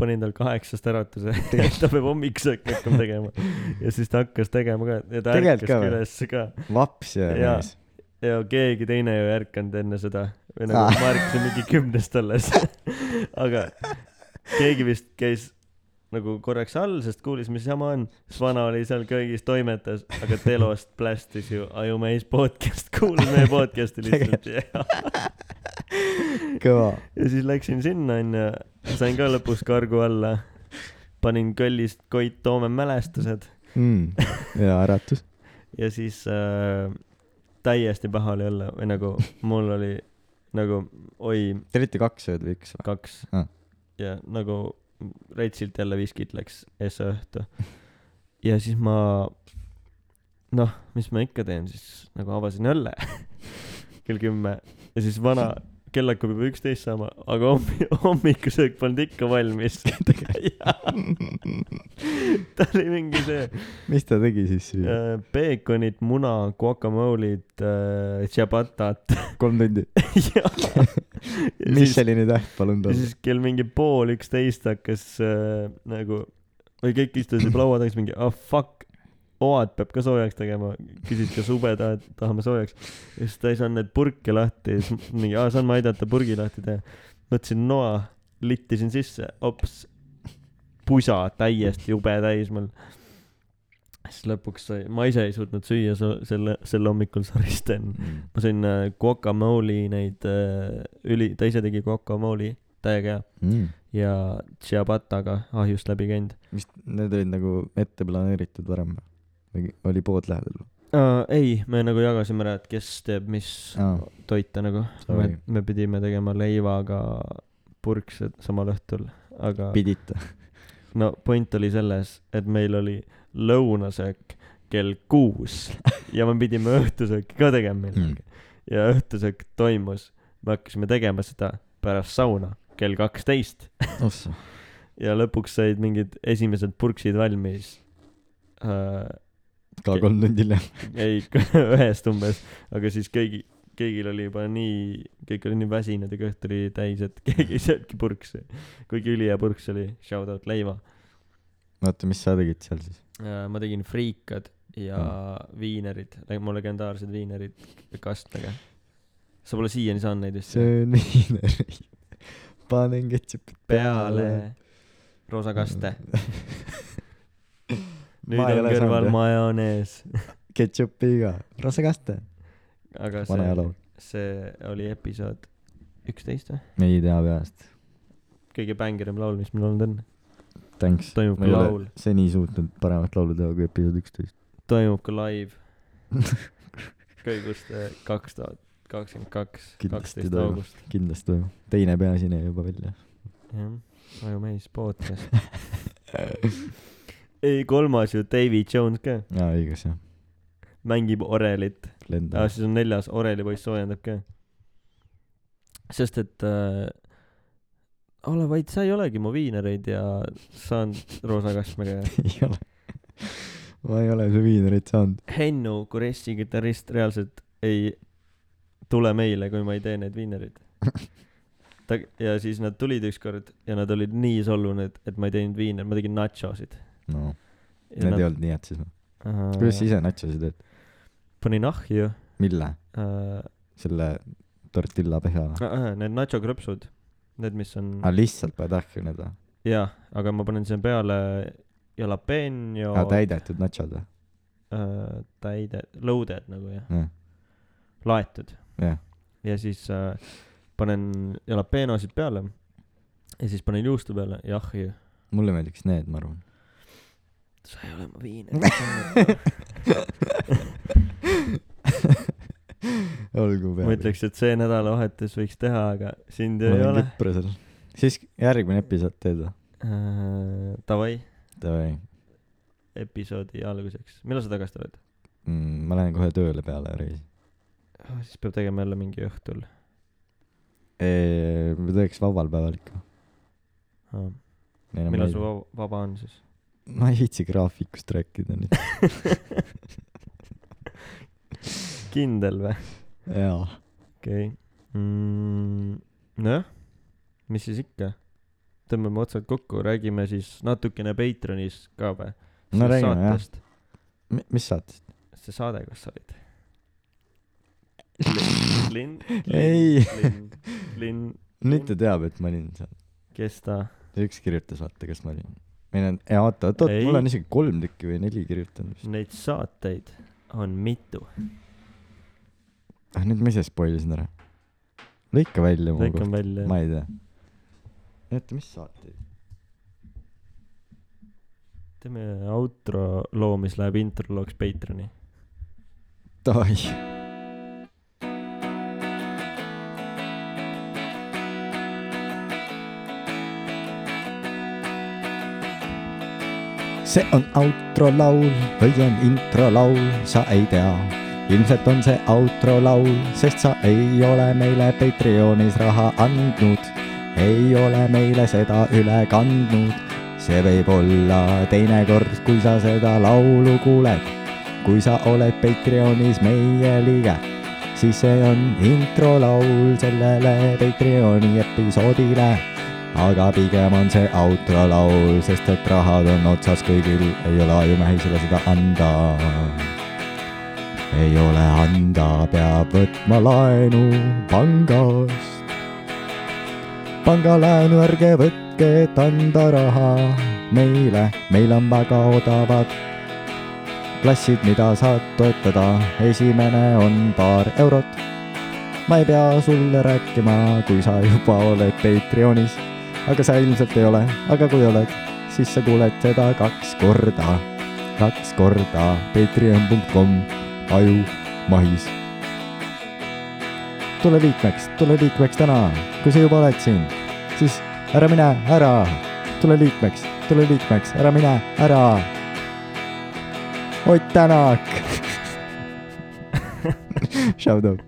Speaker 2: panin tal kaheksast äratuse , et ta peab hommikusööki hakkama tegema . ja siis ta hakkas tegema ka ja ta
Speaker 1: Tegelikult
Speaker 2: ärkas
Speaker 1: ka
Speaker 2: ka
Speaker 1: või?
Speaker 2: üles ka .
Speaker 1: vapse
Speaker 2: Jaa.
Speaker 1: mees
Speaker 2: ja keegi teine ju ei ärkanud enne seda . või nagu
Speaker 1: Aa.
Speaker 2: ma ärkasin mingi kümnest alles . aga keegi vist käis nagu korraks all , sest kuulis , mis jama on . siis vana oli seal köögis , toimetas , aga telost plästis ju Ajumees podcast , kuulas meie podcast'i lihtsalt ja
Speaker 1: kõva
Speaker 2: ja siis läksin sinna onju , sain ka lõpus kargu alla . panin kõllist Koit Toome mälestused
Speaker 1: mm. ja äratus
Speaker 2: ja siis äh, täiesti paha oli olla või nagu mul oli nagu oi
Speaker 1: te olite kaks ööd või üks või
Speaker 2: kaks
Speaker 1: Ah.
Speaker 2: ja nagu retsilt jälle viskit läks esse õhtu . ja siis ma noh , mis ma ikka teen siis nagu avasin õlle kell kümme ja siis vana kell hakkab juba üksteist saama , aga hommi- hommikusöök polnud ikka valmis . ta oli mingi see
Speaker 1: mis ta tegi siis süüa
Speaker 2: äh, peekonit , muna , guacamole'id äh, , ciabatat
Speaker 1: kolm tundi
Speaker 2: ja, ja
Speaker 1: mis
Speaker 2: siis ,
Speaker 1: oli nüüd ähk palun
Speaker 2: ja
Speaker 1: talle
Speaker 2: siis kell mingi pool üksteist hakkas äh, nagu või kõik istusid laua tagasi mingi ah oh, fuck , oad peab ka soojaks tegema , küsis kas ube tahad , tahame soojaks . ja siis ta ei saanud neid purke lahti , siis mingi aa saan ma aidata purgi lahti teha . võtsin noa , littisin sisse , hops , pusa täiesti jube täis mul siis lõpuks sai , ma ise ei suutnud süüa so- selle , sel hommikul saristen . ma sõin äh, guacamole'i neid äh, üli , ta ise tegi guacamole'i , täiega hea .
Speaker 1: mm.
Speaker 2: ja ciabattaga ahjust läbi käinud
Speaker 1: mis need olid nagu ette planeeritud varem või oli pood lähedal või
Speaker 2: uh, . ei , me nagu jagasime ära , et kes teeb mis
Speaker 1: Aa.
Speaker 2: toite nagu . me
Speaker 1: Sorry. ,
Speaker 2: me pidime tegema leivaga purkse samal õhtul , aga
Speaker 1: pidite
Speaker 2: no point oli selles , et meil oli lõunasöök kell kuus ja me pidime õhtusööki ka
Speaker 1: Mm.
Speaker 2: tegema millalgi . ja õhtusöök toimus , me hakkasime tegema seda pärast sauna kell kaksteist
Speaker 1: ossa
Speaker 2: ja lõpuks said mingid esimesed purksid valmis äh, .
Speaker 1: ka kolm tundi hiljem
Speaker 2: ei , ühest umbes , aga siis keegi , kõigil oli juba nii , kõik oli nii väsinud ja kõht oli täis , et keegi ei söönudki purksi . kuigi ülihea purks oli , shout out Leiva .
Speaker 1: oota mis sa tegid seal siis
Speaker 2: Äh, ma tegin friikad ja mm. viinerid , mu legendaarsed viinerid kastmega . sa pole siiani saanud neid vist ?
Speaker 1: söön viinereid panen ketšupit
Speaker 2: peale roosa kaste . nüüd
Speaker 1: Ma ei
Speaker 2: on
Speaker 1: ole saanud,
Speaker 2: kõrval
Speaker 1: jah.
Speaker 2: majonees .
Speaker 1: ketšupiga rasekaste
Speaker 2: aga
Speaker 1: vana
Speaker 2: see ,
Speaker 1: jalav
Speaker 2: see oli episood üksteist või ?
Speaker 1: ei tea peast
Speaker 2: kõige bängirem laul , mis meil olnud on .
Speaker 1: thanks
Speaker 2: toimub
Speaker 1: ma
Speaker 2: ka
Speaker 1: ei
Speaker 2: laul
Speaker 1: ole , seni suutnud paremat laulu teha kui episood üksteist
Speaker 2: toimub ka live . kõiguste kaks tuhat kakskümmend kaks ,
Speaker 1: Kindlasti
Speaker 2: kaksteist
Speaker 1: toimub.
Speaker 2: august .
Speaker 1: kindlasti toimub teine peaasine juba välja
Speaker 2: jah , Ajumees podcast ei , kolmas ju Davy Jones ka ,
Speaker 1: jaa õigus jah
Speaker 2: mängib orelit
Speaker 1: lendab
Speaker 2: ah, , siis on neljas , orelipoiss soojendab ka . sest et äh, , ole vait , sa ei olegi mu viinereid ja saanud roosa kastmega ja
Speaker 1: ei ole . ma ei ole su viinerit saanud .
Speaker 2: Hennu Kuressi kitarrist reaalselt ei tule meile , kui ma ei tee neid viinereid . ta , ja siis nad tulid ükskord ja nad olid nii solvunud , et ma ei teinud viinereid , ma tegin nachosid .
Speaker 1: no need ei olnud nii head siis noh kuidas sa
Speaker 2: äh, .
Speaker 1: ise natsiosi teed
Speaker 2: panin ahju
Speaker 1: mille
Speaker 2: äh, ,
Speaker 1: selle tortilla peale või
Speaker 2: äh, need nachokrõpsud , need , mis on
Speaker 1: aa lihtsalt paned ahju need või
Speaker 2: jaa , aga ma panen sinna peale jalapeno
Speaker 1: aa Ah, täidetud nachod või
Speaker 2: äh, täide , loaded nagu jah ,
Speaker 1: jah
Speaker 2: laetud .
Speaker 1: jah
Speaker 2: ja siis äh, panen jalapenosid peale ja siis panen juustu peale ja ahju .
Speaker 1: mulle meeldiks need ma arvan
Speaker 2: sa ei ole mu viiner .
Speaker 1: olgu
Speaker 2: ma ütleks , et see nädalavahetus võiks teha , aga sind ju
Speaker 1: ma
Speaker 2: ei
Speaker 1: olen
Speaker 2: ole .
Speaker 1: küprosel siis järgmine episood teed või
Speaker 2: Äh, Davai ,
Speaker 1: davai
Speaker 2: episoodi alguseks , millal sa tagasi tuled ?
Speaker 1: mm, ma lähen kohe tööle peale reis
Speaker 2: Ah, siis peab tegema jälle mingi õhtul .
Speaker 1: Eee, ma teeks vabal päeval ikka Ei, no ma
Speaker 2: Ah, millal
Speaker 1: ei-
Speaker 2: su vaba, vaba on siis ?
Speaker 1: ma ei viitsi graafikust rääkida nüüd
Speaker 2: kindel või ?
Speaker 1: jaa
Speaker 2: okei okay. mm, . nojah , mis siis ikka , tõmbame otsad kokku , räägime siis natukene Patreonis ka või ?
Speaker 1: no räägime jah . Mi- mis saatest
Speaker 2: see saade , kus sa olid ? linn ,
Speaker 1: Ei.
Speaker 2: linn , linn ,
Speaker 1: nüüd ta teab et ma olin seal
Speaker 2: kes ta ?
Speaker 1: üks kirjutas vaata kes ma olin meil on jaa oota oota oota
Speaker 2: Ei.
Speaker 1: mul on isegi kolm tükki või neli kirjutanud vist
Speaker 2: Neid saateid on mitu .
Speaker 1: ah nüüd ma ise spoilisin ära lõika välja mu
Speaker 2: lõikan välja
Speaker 1: ma ei tea oota mis saateid
Speaker 2: teeme outro loo , mis läheb introlooks Patreoni .
Speaker 1: davai see on outro laul või on intro laul , sa ei tea . ilmselt on see outro laul , sest sa ei ole meile Patreonis raha andnud . ei ole meile seda üle kandnud . see võib olla teinekord , kui sa seda laulu kuuled . kui sa oled Patreonis meie liige , siis see on intro laul sellele Patreoni episoodile aga pigem on see outro laul , sest et rahad on otsas kõigil , ei ole ajumehisele seda anda . ei ole anda , peab võtma laenu pangast . pangalaenu ärge võtke , et anda raha meile , meil on väga odavad klassid , mida saad toetada . esimene on paar eurot . ma ei pea sulle rääkima , kui sa juba oled Patreonis aga sa ilmselt ei ole , aga kui oled , siis sa kuuled seda kaks korda , kaks korda patreon.com aju mahis . tule liikmeks , tule liikmeks täna , kui sa juba oled siin , siis ära mine ära , tule liikmeks , tule liikmeks , ära mine ära . Ott Tänak . Shout out .